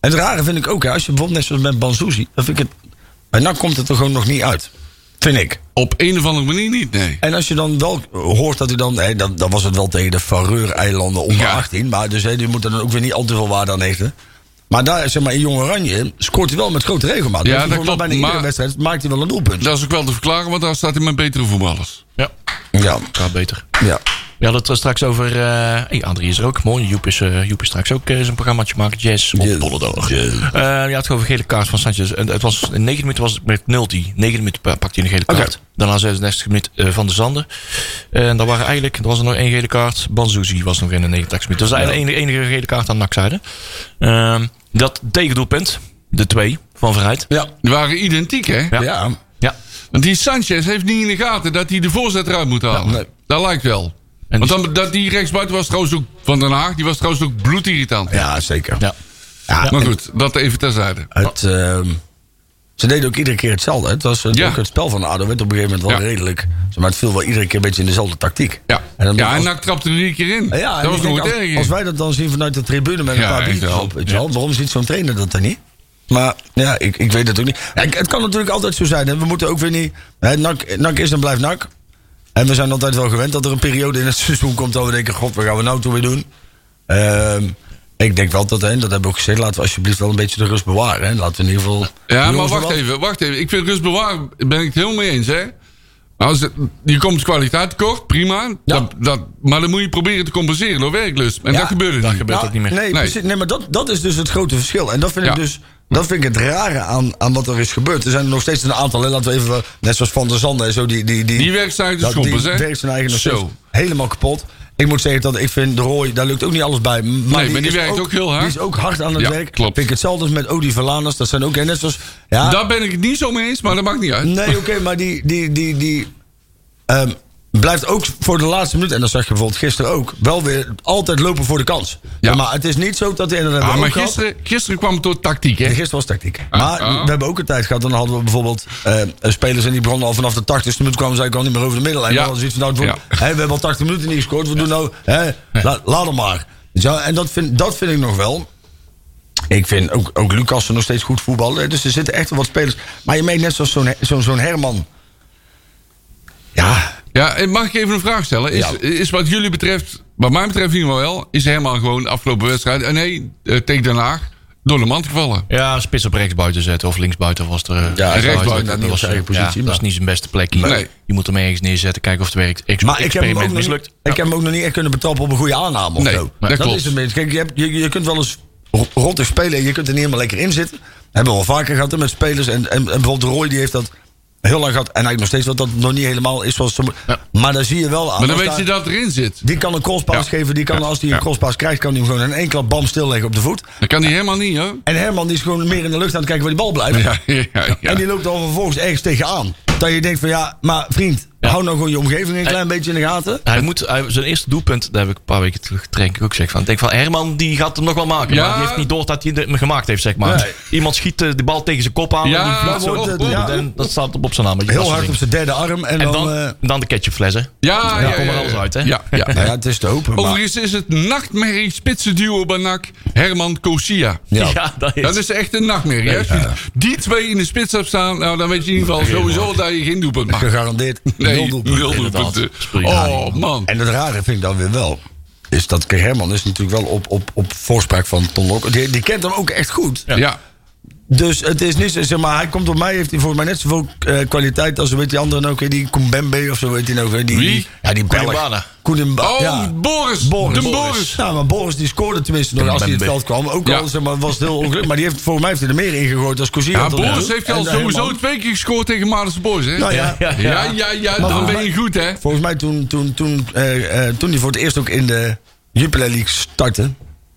S3: het rare vind ik ook, hè, als je bijvoorbeeld net zoals met Banzuzi... dan vind ik het... Bij NAC komt het er gewoon nog niet uit. Vind ik.
S4: Op een of andere manier niet, nee.
S3: En als je dan wel hoort dat hij dan... Hè, dan, dan was het wel tegen de Faroe-eilanden onder
S4: Ja.
S3: 18. Maar dus hè, die moet er dan ook weer niet al te veel waarde aan hechten. Maar daar, zeg maar, in Jong Oranje scoort hij wel met grote regelmaat.
S4: Ja,
S3: Dus hij
S4: dat
S3: voor wel
S4: klopt,
S3: Bijna iedere
S4: maar-
S3: wedstrijd maakt hij wel een doelpunt.
S4: Dat is ook wel te verklaren, want daar staat hij met betere voetballers.
S2: Ja.
S3: Ja,
S2: ja, beter.
S3: ja.
S2: Ja, dat was straks over. eh hey, André is er ook. Mooi. Joep is, eh, Joep is straks ook eh, zijn programmaatje maken. Jazz op
S3: Yes.
S2: Bollendoor.
S3: Yes.
S2: Eh, je had gewoon een gele kaart van Sanchez. En het was, in 9 minuten was het met 0 die. 9 minuten pa- pakte hij een gele
S3: Oké.
S2: kaart. Daarna 36 minuten eh, van de Zanden. En daar waren eigenlijk, er was er nog één gele kaart. Banzuzi was nog in de 90 minuten. Dat was de enige, enige gele kaart aan NAC-zijde. Ehm, dat tegendoelpunt, de 2 van Verheid.
S3: Ja.
S4: Die waren identiek, hè?
S3: Ja.
S2: Ja,
S4: Want die Sanchez heeft niet in de gaten dat hij de voorzet eruit moet halen.
S3: Ja, nee.
S4: Dat lijkt wel.
S2: En
S4: Want
S2: die-
S4: dan, dat die rechtsbuiten was trouwens ook van Den Haag. Die was trouwens ook bloedirritant.
S3: Ja, zeker.
S2: ja.
S3: Ja,
S4: Maar goed, dat even terzijde.
S3: Het, ehm, ze deden ook iedere keer hetzelfde. hè. Het, was, het,
S4: Ja.
S3: ook het spel van ADO werd op een gegeven moment wel
S4: Ja.
S3: redelijk... zeg Maar het viel wel iedere keer een beetje in dezelfde tactiek.
S4: Ja,
S3: En dan
S4: ja en
S3: als-
S4: NAC trapte er drie keer in.
S3: Ja, en
S4: dat was
S3: ik denk,
S4: nog het
S3: als,
S4: erg.
S3: als wij dat dan zien vanuit de tribune met een
S4: Ja,
S3: paar
S4: echt
S3: biertjes
S4: wel.
S3: op, weet je wel, waarom ziet zo'n trainer dat dan niet? Maar ja, ik, ik weet het ook niet. Ja, ik- het kan natuurlijk altijd zo zijn. Hè. We moeten ook weer niet... Hè, NAC, NAC is en blijft NAC. Eh, En we zijn altijd wel gewend dat er een periode in het seizoen komt... dat we denken, god, wat gaan we nou toe weer doen? Ehm, ik denk wel dat, hè, dat hebben we ook gezegd... laten we alsjeblieft wel een beetje de rust bewaren. Hè. Laten we in ieder geval...
S4: Ja,
S3: jongens
S4: maar wacht
S3: wel-
S4: even, wacht even. Ik vind rust bewaren, ben ik het helemaal mee eens, hè? Als het- je komt kwaliteit tekort, prima. Dat, dat, maar dan moet je proberen te compenseren door werklust. En
S3: Ja,
S4: dat gebeurt er
S2: dat
S4: niet. Nou,
S2: gebeurt ook niet meer.
S3: Nou, Nee,
S4: Nee.
S3: Precies, nee maar dat, dat is dus het grote verschil. En dat vind
S4: Ja.
S3: ik dus dat vind ik het rare aan, aan wat er is gebeurd. Er zijn er nog steeds een aantal. hè, Laten we even, eh, net zoals Van der Zanden en zo. Die, die, die,
S4: Die werkt zijn eigen
S3: dat-
S4: schoppers,
S3: Die
S4: hè?
S3: werkt zijn eigen nog
S4: Zo.
S3: steeds helemaal kapot. Ik moet zeggen dat ik vind de Roy, daar lukt ook niet alles bij. Maar
S4: maar die
S3: is
S4: werkt ook heel hard.
S3: Die is ook hard aan het
S4: Ja,
S3: werk.
S4: klopt.
S3: Vind ik hetzelfde als met Odi Verlaners. Dat zijn ook, en net zoals... Ja,
S4: Daar ben ik het niet zo mee eens, maar dat maakt niet uit.
S3: Nee, oké, maar die, die, die, die ehm, blijft ook voor de laatste minuut, en dat zag je bijvoorbeeld gisteren ook, wel weer altijd lopen voor de kans.
S4: Ja.
S3: Maar het is niet zo dat hij. En dat hebben
S4: Ah,
S3: we
S4: maar
S3: ook gehad.
S4: gisteren, gisteren kwam het door tactiek, hè?
S3: Ja, gisteren was tactiek.
S4: Ah,
S3: maar
S4: ah.
S3: we hebben ook een tijd gehad. Dan hadden we bijvoorbeeld eh, spelers en die begonnen al vanaf de 80 minuut kwamen ze eigenlijk al niet meer over de middellijn.
S4: Ja.
S3: Dan hadden ze iets van, nou, het wordt-
S4: Ja.
S3: hè, we hebben al 80 minuten niet gescoord. We doen nou, hè, la- laat hem maar. Ja, en dat vind, dat vind ik nog wel. Ik vind ook, ook Lucassen nog steeds goed voetballen. hè. Dus er zitten echt wel wat spelers. Maar je meent net zoals zo'n zo'n zo'n Herman. Ja,
S4: Ja, en mag ik even een vraag stellen? Is,
S3: Ja.
S4: is wat jullie betreft, wat mij betreft in ieder geval wel, is helemaal gewoon de afgelopen wedstrijd. En nee, eh, tegen Den Haag, door de mand gevallen.
S2: Ja, een spits op rechtsbuiten zetten of linksbuiten was er. eh,
S4: rechtsbuiten,
S2: dat
S3: niet op
S2: was
S3: zijn eigen
S2: ja, dat
S3: positie,
S2: is
S3: maar-
S2: niet zijn beste plekje.
S4: Nee.
S2: Je moet hem ergens neerzetten, kijken of het werkt. Ex-
S3: maar ik heb, hem ook
S2: experiment
S3: nog niet,
S2: mislukt.
S3: ik heb hem ook nog niet echt kunnen betrappen op een goede aanname. Of
S4: Nee,
S3: zo.
S4: dat klopt.
S3: is een beetje. Kijk, je, hebt, je, je kunt wel eens ro- rottig spelen en je kunt er niet helemaal lekker in zitten. Dat hebben we al vaker gehad hè, met spelers. En, en, en bijvoorbeeld Roy die heeft dat heel lang gehad. En eigenlijk nog steeds wat dat nog niet helemaal is zoals ze mo- Maar daar zie je wel aan.
S4: Maar dan
S3: Als
S4: weet je
S3: daar-
S4: dat het erin zit.
S3: Die kan een crosspaas
S4: Ja.
S3: geven. Die kan,
S4: Ja.
S3: Als hij
S4: Ja.
S3: een crosspaas krijgt, kan hij hem gewoon in één klap bam stilleggen op de voet.
S4: Dat kan hij helemaal niet, hoor.
S3: En Herman die is gewoon meer in de lucht aan het kijken waar die bal blijft.
S4: Ja, ja, ja.
S3: En die loopt dan vervolgens ergens tegenaan. Dat je denkt van ja, maar vriend, hou nou gewoon je omgeving een klein beetje in de gaten.
S2: Hij moet, hij- zijn eerste doelpunt, daar heb ik een paar weken terug denk ik ook zeg van. Ik denk van Herman die gaat hem nog wel maken.
S4: Ja.
S2: Maar die heeft niet door dat hij hem gemaakt heeft, zeg maar.
S3: Nee.
S2: Iemand schiet eh, de bal tegen zijn kop aan.
S4: Ja,
S2: en die vliegt
S4: dat
S2: zo
S4: wordt
S2: op,
S4: het,
S2: boem,
S3: ja.
S2: en dat staat op zijn naam. weet je, dat
S3: Heel
S2: soort
S3: hard op
S2: dingen.
S3: zijn derde arm. En,
S2: En
S3: dan,
S2: dan,
S3: eh,
S2: dan de ketchupfles, hè.
S4: Ja, ja,
S2: Daar
S4: ja,
S2: komen er
S4: ja.
S2: alles uit, hè?
S4: Ja, ja.
S3: Nou ja, het is te hopen. maar-
S4: Overigens is het nachtmerrie spitsen duo bij NAC Herman Kosia.
S3: Ja.
S2: Ja, dat is...
S4: Dat is echt een nachtmerrie. hè? Als je Die twee in de spits hebt staan, nou, dan weet je in ieder geval sowieso dat je geen doelpunt maakt.
S3: Gegarandeerd.
S4: Nee,
S3: nul doelpunten.
S4: nul
S2: Inderdaad.
S4: doelpunten.
S2: Speel je
S4: Oh, man.
S3: En het rare vind ik dan weer wel. Is dat Kijk, Herman is natuurlijk wel op, op, op voorspraak van Ton Lok. Die, die kent hem ook echt goed.
S4: Ja.
S3: Dus het is niet zo, zeg maar, hij komt op mij, heeft hij volgens mij net zoveel eh, kwaliteit als, weet die anderen ook, hè, die Kumbembe of zo, weet hij nou. hè, Die,
S4: Wie?
S3: die- Ja, die Belg.
S2: Koenibana.
S3: Koenimba-
S4: Oh,
S3: ja.
S4: Boris.
S3: Boris.
S4: De Boris.
S3: Nou, maar Boris die scoorde tenminste nog als hij in het veld
S2: Kumbembe.
S3: kwam. Ook
S4: Ja.
S3: al, zeg maar, was het heel ongelukkig. Maar die heeft, volgens mij heeft hij er meer ingegooid als Cousine.
S4: Ja, Boris heeft al
S3: eh,
S4: sowieso twee keer gescoord tegen Maartense Boys, hè?
S3: Nou ja,
S4: Ja, ja, ja, dan ben je goed, hè?
S3: Volgens mij toen, toen, toen, eh, eh, toen hij voor het eerst ook in de Jupiler League startte,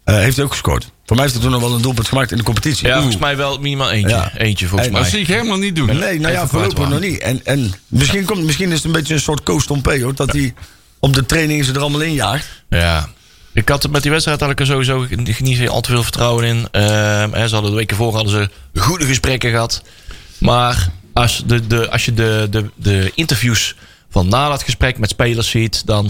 S3: eh, heeft hij ook gescoord. Voor mij heeft hij toen nog wel een doelpunt gemaakt in de competitie.
S2: Ja,
S3: Oeh.
S2: volgens mij wel minimaal eentje.
S3: Ja.
S2: Eentje, volgens
S3: En
S4: Dat
S2: mij.
S4: zie ik helemaal niet doen.
S3: Nee, nou ja,
S2: Even
S3: voorlopig nog
S2: kwijtwaan.
S3: niet. En, en misschien, komt, misschien is het een beetje een soort Koos Tompé, hoor. Dat hij op de training ze er allemaal in jaagt.
S2: Ja. Ik had het met die wedstrijd had ik er sowieso ge- niet zo al te veel vertrouwen in. Ehm, hè, ze hadden de weken voor hadden ze goede gesprekken gehad. Maar als, de, de, als je de, de, de interviews van na dat gesprek met spelers ziet, dan.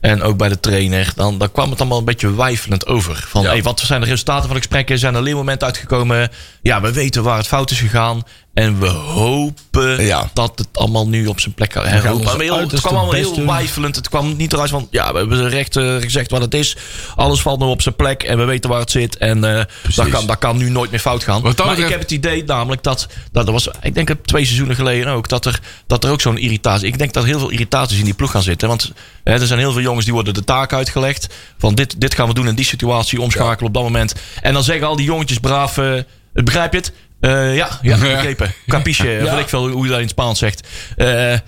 S2: En ook bij de trainer, dan, dan kwam het allemaal een beetje wijfelend over. Van, hey, wat zijn de resultaten van de gesprekken? Zijn er leermomenten uitgekomen? Ja, we weten waar het fout is gegaan. En we hopen
S3: Ja.
S2: dat het allemaal nu op zijn plek gaat. hè,
S3: gaan
S2: hopen.
S3: ons
S2: Maar heel- Het
S3: uiterste
S2: kwam allemaal
S3: best
S2: heel
S3: doen.
S2: wijfelend twijfelend. Het kwam niet eruit van, ja, we hebben recht eh, gezegd wat het is. Alles valt nu op zijn plek en we weten waar het zit. En eh, dat, kan, dat kan nu nooit meer fout gaan.
S4: Wat dat
S2: maar ik
S4: betreft-
S2: heb het idee namelijk dat, dat er was, ik denk het twee seizoenen geleden ook, dat er, dat er ook zo'n irritatie, ik denk dat heel veel irritaties in die ploeg gaan zitten. Want hè, er zijn heel veel jongens die worden de taak uitgelegd van dit, dit gaan we doen in die situatie, omschakelen op dat moment. En dan zeggen al die jongetjes braaf, eh, begrijp je het? Eh, ja, ja,
S4: Ja.
S2: begrepen. Capiche, eh, weet ik veel hoe je dat in het Spaans zegt. Eh, eh,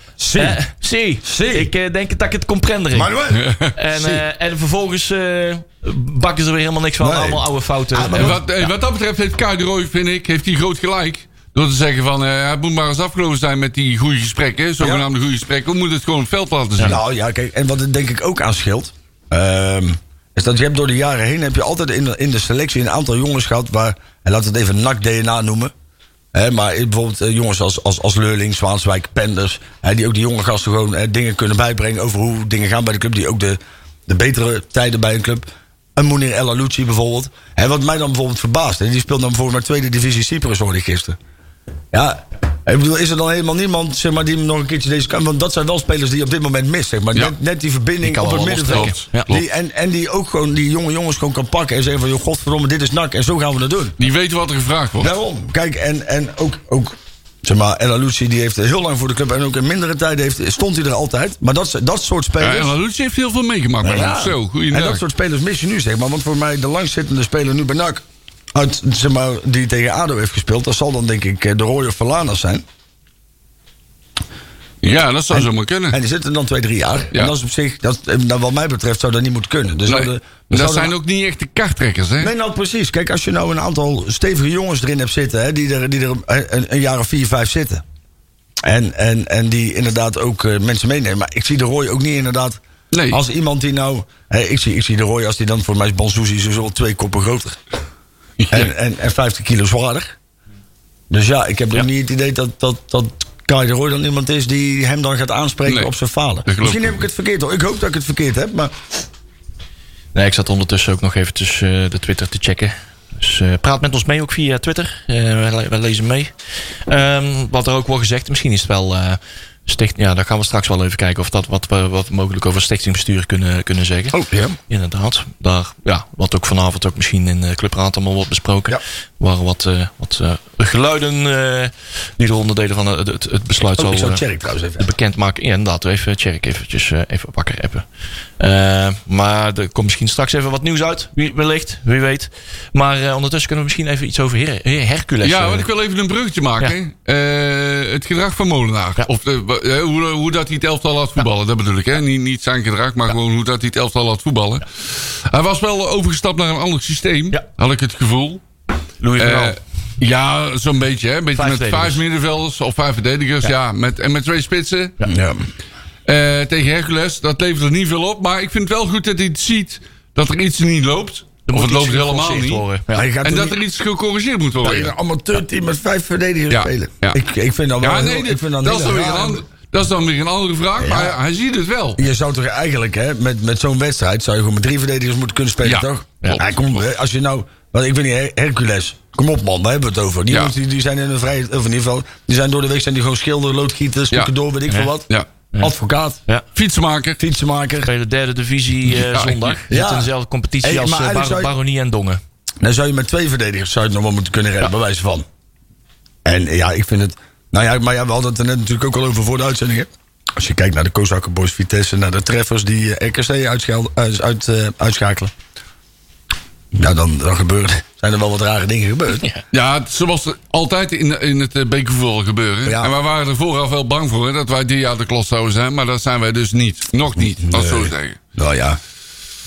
S2: sí. Ik eh, denk dat ik het comprendering. En, eh, en vervolgens eh, bakken ze weer helemaal niks van.
S3: Nee.
S2: Allemaal oude fouten.
S4: En wat, eh, wat dat betreft heeft Kai de Roy, vind ik, heeft hij groot gelijk. Door te zeggen van, eh het moet maar eens afgelopen zijn met die goede gesprekken. Zogenaamde goede gesprekken. We moeten het gewoon op het veld laten zien.
S3: Nou ja, kijk, en wat het denk ik ook aan scheelt... ehm, is dat je hebt door de jaren heen... heb je altijd in de, in de selectie een aantal jongens gehad... waar, en laten we het even NAC-DNA noemen... Hè, maar bijvoorbeeld eh, jongens als, als, als Leurling, Zwaanswijk, Penders... Hè, die ook die jonge gasten gewoon eh, dingen kunnen bijbrengen... over hoe dingen gaan bij de club... die ook de, de betere tijden bij een club... Een Mounir El Alouchi bijvoorbeeld. En wat mij dan bijvoorbeeld verbaast... Hè, die speelt dan bijvoorbeeld maar tweede divisie Cyprus, hoorde ik gisteren. Ja, Ik bedoel, is er dan helemaal niemand zeg maar, die hem nog een keertje deze kan? Want dat zijn wel spelers die je op dit moment mist. Zeg maar.
S4: Ja.
S3: net, net die
S2: Die
S3: verbinding
S2: kan
S3: op het
S2: wel
S3: middenveld.
S2: losstrekken. Ja,
S3: Die- en, en die ook gewoon die jonge jongens gewoon kan pakken en zeggen van... joh, godverdomme, dit is nak en zo gaan we dat doen.
S4: Die weten wat er gevraagd wordt.
S3: Daarom. Kijk, en, en ook, ook zeg maar, El Alouci, die heeft heel lang voor de club... en ook in mindere tijden heeft, stond hij er altijd. Maar dat, dat soort
S4: Ja,
S3: spelers...
S4: en Lalucci heeft heel veel meegemaakt. bij ons. Zo,
S3: En dat
S4: goeiedag.
S3: soort spelers mis je nu, zeg maar. Want voor mij, de langzittende speler nu bij NAC... Uit, zeg maar, die tegen ADO heeft gespeeld... dat zal dan denk ik eh, de Roy of Falanas zijn.
S4: Ja, dat zou zomaar kunnen.
S3: En die zitten dan twee, drie jaar.
S4: Ja.
S3: En dat is op zich, dat, eh, nou, wat mij betreft, zou dat niet moeten kunnen. Dus
S4: Nee, dat zijn ook niet echt de karttrekkers, hè?
S3: Nee, nou precies. Kijk, als je nou een aantal stevige jongens erin hebt zitten... Hè, die er, die er eh, een- een, een jaar of vier, vijf zitten... En, en, en die inderdaad ook eh, mensen meenemen. Maar ik zie de Roy ook niet inderdaad...
S4: Nee.
S3: Als iemand die nou... hè, ik, zie, ik zie de Roy als die dan voor mij is Bansuzi sowieso wel twee koppen groter. En, en, en 50 kilo zwaarder. Dus ja, ik heb ook niet het idee dat, dat, dat Kai de Roy dan iemand is die hem dan gaat aanspreken
S4: Nee.
S3: op zijn falen.
S4: geloof
S3: Misschien
S4: ik
S3: heb ik het verkeerd hoor. Ik hoop dat ik het verkeerd heb. Maar
S2: Nee, ik zat ondertussen ook nog even tussen eh, de Twitter te checken. Dus eh, praat met ons mee ook via Twitter. Eh, wij, le- wij lezen mee. Ehm, wat er ook wordt gezegd, misschien is het wel. eh sticht, ja, daar gaan we straks wel even kijken of dat wat we wat we mogelijk over stichtingbestuur kunnen, kunnen zeggen.
S3: Oh, ja.
S2: Inderdaad. Daar, ja, wat ook vanavond ook misschien in de Clubraad allemaal wordt besproken.
S3: Ja.
S2: Waar wat, eh, wat eh, geluiden eh, die de onderdelen van het, het, het besluit
S3: oh, ik zou
S2: eh,
S3: Tjerk trouwens even
S2: de bekendmaking. Ja, inderdaad, even check eventjes eh, even wakker appen. Eh, maar er komt misschien straks even wat nieuws uit. Wie, wellicht, wie weet. Maar eh, ondertussen kunnen we misschien even iets over Her- Her- Hercules.
S4: Ja,
S2: eh,
S4: want ik wil even een bruggetje maken. Eh, het gedrag van Molenaar.
S2: Ja.
S4: Of de- wa- eh, hoe, hoe dat hij het elftal laat voetballen, dat bedoel ik. Hè? Niet, niet zijn gedrag, maar gewoon hoe dat hij het elftal laat voetballen. Hij was wel overgestapt naar een ander systeem,
S2: Ja.
S4: had ik het gevoel.
S2: Louis van Gaal.
S4: Eh, ja, zo'n beetje. Hè? Een beetje
S2: Vijf
S4: met vijf
S2: verdedigers.
S4: middenvelders of vijf verdedigers. Ja. met, en met twee spitsen.
S3: Ja.
S4: Eh, tegen Hercules. Dat levert er niet veel op. Maar ik vind het wel goed dat hij het ziet dat er iets niet loopt.
S2: Er
S4: of
S2: moet
S4: het loopt
S2: iets
S4: helemaal
S2: geforceerd
S4: niet.
S2: worden. Ja.
S3: Hij gaat
S4: En
S3: er
S4: dat
S3: niet-
S4: er iets gecorrigeerd moet
S3: Ja,
S4: worden.
S3: in een amateurteam met vijf verdedigers
S4: Ja,
S3: spelen.
S4: ja.
S3: Ik, ik vind dat wel
S4: Ja,
S3: heel-
S4: nee,
S3: Oh, ik vind dat
S4: dat,
S3: niet
S4: is dan weer een
S3: raar.
S4: ander- dat is dan weer een andere vraag, maar hij, hij ziet het wel.
S3: Je zou toch eigenlijk, hè, met, met zo'n wedstrijd, zou je gewoon met drie verdedigers moeten kunnen spelen,
S4: Ja,
S3: toch?
S4: klopt.
S3: Hij komt, hè, als je nou, want ik weet niet, Her- Hercules, kom op man, daar hebben we het over. Die,
S4: Ja.
S3: jongens die, die zijn in een vrije, of in ieder geval, die zijn door de week zijn die gewoon schilder, loodgieter, stukken door, weet ik veel wat.
S4: Ja.
S3: Advocaat,
S2: Ja.
S4: Fietsenmaker.
S3: fietsenmaker.
S2: Bij de derde divisie eh,
S4: Ja,
S2: zondag.
S4: ja.
S2: Zit in dezelfde competitie
S3: Hey,
S2: als
S3: maar
S2: eh,
S3: eigenlijk
S2: Bar-
S3: zou je-
S2: Baronie en Dongen.
S3: Dan zou je met twee verdedigers zou je het nog wel moeten kunnen redden, bij wijze van. En eh, ja, ik vind het... Nou ja, maar ja, we hadden het er net natuurlijk ook al over voor de uitzending. hè. Als je kijkt naar de Kozakken Boys Vitesse... naar de treffers die eh, RKC uitschel- uit, uit, eh, uitschakelen... Nou, dan, dan gebeuren, zijn er wel wat rare dingen gebeurd.
S4: Ja, het- zoals er altijd in, in het eh, bekervoetbal gebeuren.
S3: Ja.
S4: En wij waren er vooraf wel bang voor hè, dat wij dit jaar de klos zouden zijn, maar dat zijn wij dus niet. Nog niet, dat zou ik zeggen.
S3: Nou ja,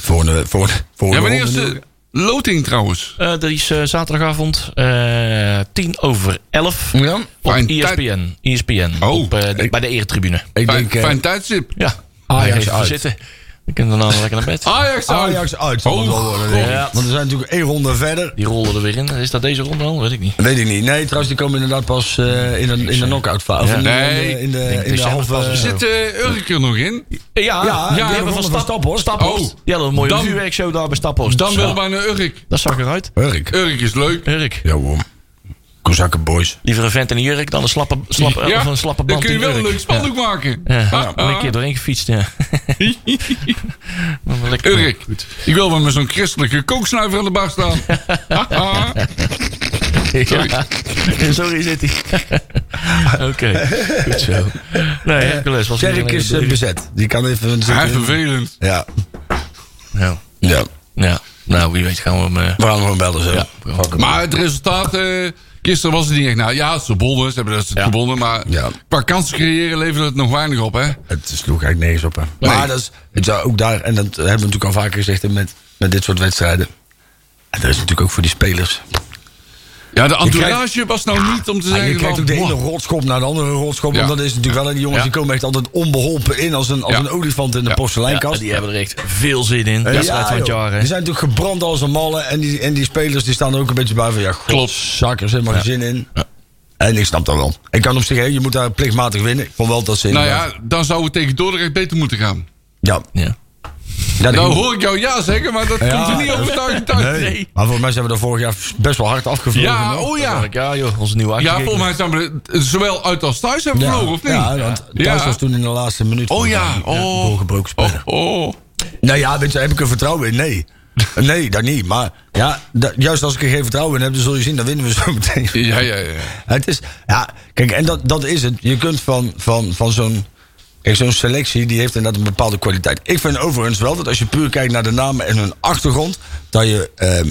S3: voor een... Voor, voor
S4: Ja, wanneer
S3: een
S4: is de loting trouwens?
S2: Eh, dat is eh, zaterdagavond eh, tien over elf.
S3: Ja,
S2: Op E
S4: fijn.
S2: ESPN. ESPN.
S4: Oh.
S2: Op, eh, de- bij de eretribune.
S3: Ik
S4: Fijn,
S3: denk eh,
S4: fijn tijdstip.
S2: Ja.
S3: Ajax
S2: Even
S3: uit.
S2: zitten. We kunnen daarna lekker naar bed.
S4: Ajax uit.
S3: Ajax uit zal het
S4: Oh,
S3: wel worden, denk ik.
S2: God.
S3: Want we zijn natuurlijk één ronde verder.
S2: Die rollen er weer in. Is dat deze ronde al? Weet ik niet.
S3: Weet ik niet. Nee, trouwens, die komen inderdaad pas eh, in, een, in de knock-out fase. Of in de-
S4: Nee.
S3: in de, in de, in de,
S2: december
S3: halve...
S2: pas of zo.
S4: Zit eh Urk er nog in?
S2: Ja,
S3: Ja,
S2: die
S3: ja,
S2: hebben
S3: we
S2: van,
S3: vonden
S2: Stap,
S3: van Staphorst.
S2: Staphorst.
S4: Oh.
S2: Die hadden een mooie
S4: Dan-
S2: vuurwerkshow daar bij Staphorst.
S4: Dan
S2: Ja,
S4: wel bijna Urk.
S2: Dat zag eruit.
S3: Hurk.
S4: Urk is leuk.
S2: Jurk.
S3: Ja, hoor. Kozakken boys.
S2: Liever een vent in een jurk dan een slappe, slappe, of een slappe
S4: dan
S2: band
S4: kun je
S2: in
S4: wel een
S2: Urk.
S4: leuk spandoek maken.
S2: Ja, ja.
S4: Ah,
S2: ben ik een
S4: ah.
S2: keer doorheen gefietst, ja. Maar wel lekker.
S4: Urk, ik wil wel met zo'n christelijke kooksnuiver aan de bar staan. Haha. Sorry.
S2: Ja, Sorry zit hij. Oké, goed zo. Nee, Hercules was
S3: Tjerk
S2: niet
S3: is eh,
S2: alleen-
S3: bezet. Die kan even...
S4: Hij vervelend.
S3: Ja.
S2: Ja.
S3: ja.
S2: ja, nou wie weet gaan we hem... eh,
S3: We gaan gewoon bellen zo.
S2: Ja.
S3: Fuck hem.
S4: Maar het resultaat, eh, gisteren was het niet echt. Nou ja, ze bonden, ze hebben dat ze
S2: Ja.
S4: gewonnen. Maar
S3: Ja.
S4: qua kansen creëren leverde het nog weinig op, hè?
S3: Het sloeg eigenlijk nergens op. Hè. Maar dat is, het zou ook daar, en dat hebben we natuurlijk al vaker gezegd hè, met, met dit soort wedstrijden. En dat is natuurlijk ook voor die spelers.
S4: Ja, de
S3: krijgt-
S4: entourage was nou niet om te
S3: En
S4: zeggen.
S3: Ah, je krijgt
S4: van,
S3: ook de ene
S4: "Wow."
S3: rotschop naar de andere rotschop.
S4: Ja.
S3: Want dat is natuurlijk wel, hè, die jongens
S4: Ja.
S3: die komen echt altijd onbeholpen in als een, als
S4: Ja.
S3: een olifant in de
S4: Ja.
S3: porseleinkast.
S2: ja, die hebben er echt veel zin in. De
S3: Ja,
S2: wedstrijd van het
S3: joh.
S2: jaar, hè.
S3: Die zijn natuurlijk gebrand als een malle. En die, en die spelers die staan er ook een beetje bij van... Ja,
S4: Klopt.
S3: klopt. Zakkers, helemaal geen zin in. En ik snap dat wel. Ik kan op zich, hè, je moet daar plichtmatig winnen. Ik vond wel dat ze
S4: Nou
S3: inderdaad-
S4: ja, dan zou het tegen Dordrecht beter moeten gaan.
S3: Ja,
S2: Ja.
S3: ja. Ja, dat
S4: Nou
S3: ging-
S4: hoor ik jou ja zeggen, maar dat
S3: Ja.
S4: komt er niet overtuigend uit.
S3: Nee. Maar volgens mij zijn we er vorig jaar best wel hard afgevlogen.
S4: Ja,
S3: hoor.
S4: oh ja.
S2: Ja, joh, onze nieuwe
S4: Ja,
S2: uitgever.
S4: volgens mij zijn we er zowel uit als thuis hebben
S3: ja.
S4: verloren, of niet?
S3: Ja, want thuis was toen in de laatste minuut.
S4: Oh ja, oh.
S3: Doorgebroken spelen.
S4: Oh,
S3: Nou ja, weet je, heb ik er vertrouwen in? Nee. Nee, dat niet. Maar ja, da- juist als ik er geen vertrouwen in heb, dan zul je zien, dan winnen we zo meteen.
S4: ja, ja, ja.
S3: Het is, ja, kijk, en dat, dat is het. Je kunt van, van, van zo'n. Kijk, zo'n selectie die heeft inderdaad een bepaalde kwaliteit. Ik vind overigens wel dat als je puur kijkt naar de namen en hun achtergrond, dat je ehm,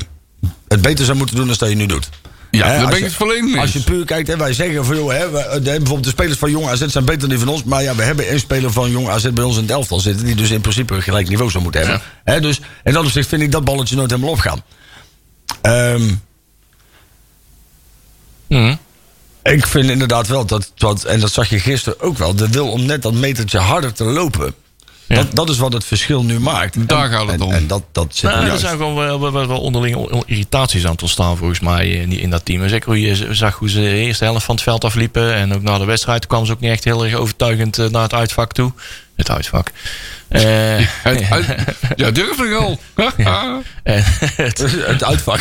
S3: het beter zou moeten doen dan dat je nu doet.
S4: Ja,
S3: Hè,
S4: daar
S3: als
S4: ben ik
S3: je-
S4: het volledig mee
S3: Als je
S4: eens.
S3: puur kijkt, hè, wij zeggen van joh, hè, we- eh, de- bijvoorbeeld de spelers van Jong AZ zijn beter dan die van ons. Maar ja, we hebben een speler van Jong AZ bij ons in het elftal zitten. Die dus in principe een gelijk niveau zou moeten hebben. Hè, dus in dat opzicht vind ik dat balletje nooit helemaal opgaan. Ehm
S2: Mhm.
S3: Ik vind inderdaad wel dat, dat, en dat zag je gisteren ook wel, de wil om net dat metertje harder te lopen.
S2: Ja.
S3: Dat, dat is wat het verschil nu maakt.
S4: Daar
S3: En-
S4: gaat het
S3: en-
S4: om.
S3: En dat, dat zit er
S2: Nou, er
S3: juist.
S2: zijn gewoon wel, wel, wel- wel onderling on- irritaties aan het ontstaan volgens mij eh, niet in dat team. En zeker hoe je z- zag hoe ze de eerste helft van het veld afliepen. En ook na de wedstrijd kwamen ze ook niet echt heel erg overtuigend eh, naar het uitvak toe. Het uitvak. Eh,
S4: Het- het- ja, durf ik al. Ah, ja,
S2: en het-
S3: Het uitvak.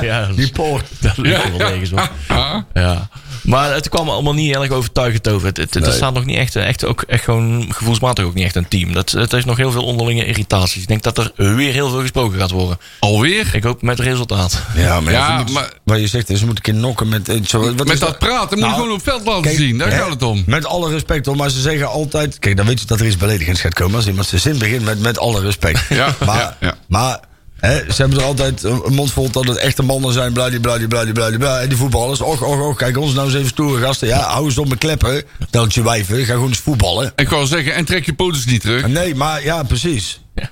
S2: ja, dat
S3: Die
S2: is-
S3: poort.
S2: dat lukt wel ergens op.
S4: ah,
S2: Ja. Maar het kwam allemaal niet heel erg overtuigend over. Het, het, het
S3: Nee.
S2: staat nog niet echt, eh, echt, ook, echt gewoon gevoelsmatig ook niet echt een team. Dat, het is nog heel veel onderlinge irritaties. Ik denk dat er weer heel veel gesproken gaat worden.
S4: Alweer?
S2: Ik hoop met resultaat.
S3: Ja, maar,
S4: Ja,
S3: je moet-
S4: maar-
S3: wat je zegt is, moet ik in nokken met... eh, Zo, wat
S4: Met
S3: is
S4: dat praten moet je
S3: Nou,
S4: gewoon op het veld laten
S3: kijk,
S4: zien. Daar
S3: hè,
S4: gaat het om.
S3: Met alle respect, hoor, maar ze zeggen altijd... Kijk, dan weet je dat er iets beledigends gaat komen als iemand zijn zin begint met, met alle respect.
S4: Ja,
S3: maar
S4: ja, ja.
S3: maar hè, ze hebben er altijd een een mond vol dat het echte mannen zijn, bladibladibladibladibla. En die voetballers, och, och, och, kijk ons nou eens even stoere gasten. Ja, hou eens op mijn kleppen, je wijven, ga gewoon eens voetballen.
S4: Ik wou zeggen, en trek je pootjes niet terug.
S3: Nee, maar ja, precies.
S2: Ja.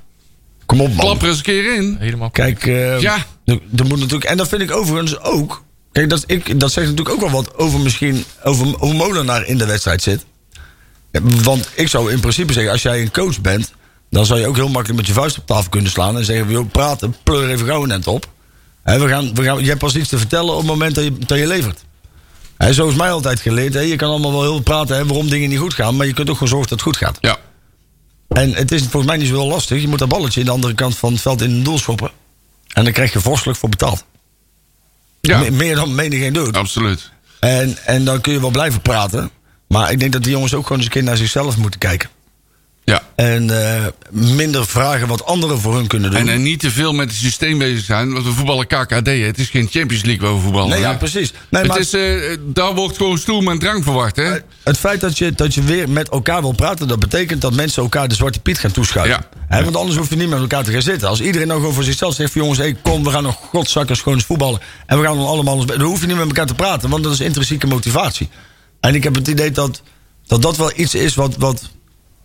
S3: Kom op, man.
S4: Klap er eens een keer in.
S2: Helemaal
S3: Kijk, eh,
S4: Ja.
S3: er, er moet natuurlijk. En dat vind ik overigens ook. Kijk, dat, ik, dat zegt natuurlijk ook wel wat over misschien. Over hoe Molenaar in de wedstrijd zit. Ja, Want ik zou in principe zeggen, als jij een coach bent. dan zou je ook heel makkelijk met je vuist op tafel kunnen slaan. en zeggen: joh, praten, pleur even gauw een end op. Hè, we gaan, we gaan, je hebt pas iets te vertellen op het moment dat je, dat je levert. Hè, zo is mij altijd geleerd. hè, je kan allemaal wel heel veel praten hè, waarom dingen niet goed gaan. maar je kunt ook gewoon zorgen dat het goed gaat.
S4: Ja.
S3: En het is volgens mij niet zo heel lastig. Je moet dat balletje aan de andere kant van het veld in een doel schoppen. En dan krijg je vorstelijk voor betaald.
S4: Ja,
S3: Me- meer dan menig geen dood.
S4: absoluut.
S3: En, en dan kun je wel blijven praten. Maar ik denk dat die jongens ook gewoon eens een keer naar zichzelf moeten kijken.
S4: Ja.
S3: En eh, minder vragen wat anderen voor hun kunnen doen.
S4: En, en niet te veel met het systeem bezig zijn. Want we voetballen KKD. hè. Het is geen Champions League waar we voetballen.
S3: nee, ja,
S4: hè.
S3: precies. Nee,
S4: het
S3: maar
S4: is, eh, daar wordt gewoon stoel en drank verwacht, hè?
S3: Eh, Het feit dat je, dat je weer met elkaar wil praten, dat betekent dat mensen elkaar de zwarte piet gaan toeschuiven.
S4: Ja.
S3: Hè, want anders hoef je niet met elkaar te gaan zitten. Als iedereen nou gewoon voor zichzelf zegt van jongens, hey, kom, we gaan nog godzakkers gewoon eens voetballen. En we gaan dan allemaal ons. Dan hoef je niet met elkaar te praten, want dat is intrinsieke motivatie. En ik heb het idee dat dat, dat wel iets is wat. wat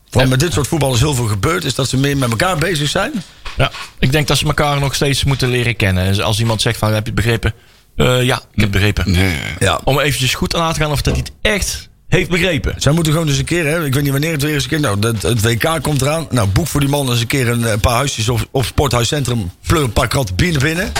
S3: wat met dit soort voetballers heel veel gebeurt, is dat ze meer met elkaar bezig zijn.
S2: Ja, ik denk dat ze elkaar nog steeds moeten leren kennen. Dus als iemand zegt van, heb je het begrepen? Eh, ja, ik heb het begrepen.
S4: Nee.
S3: Ja.
S2: Om eventjes goed aan te gaan of dat hij het echt heeft begrepen.
S3: Zij moeten gewoon eens een keer, hè, ik weet niet wanneer het weer eens een keer. Nou, dat, het WK komt eraan. Nou, boek voor die man eens een keer een, eh, paar huisjes op, op Sporthuiscentrum. Pleur een paar kratten bier naar binnen.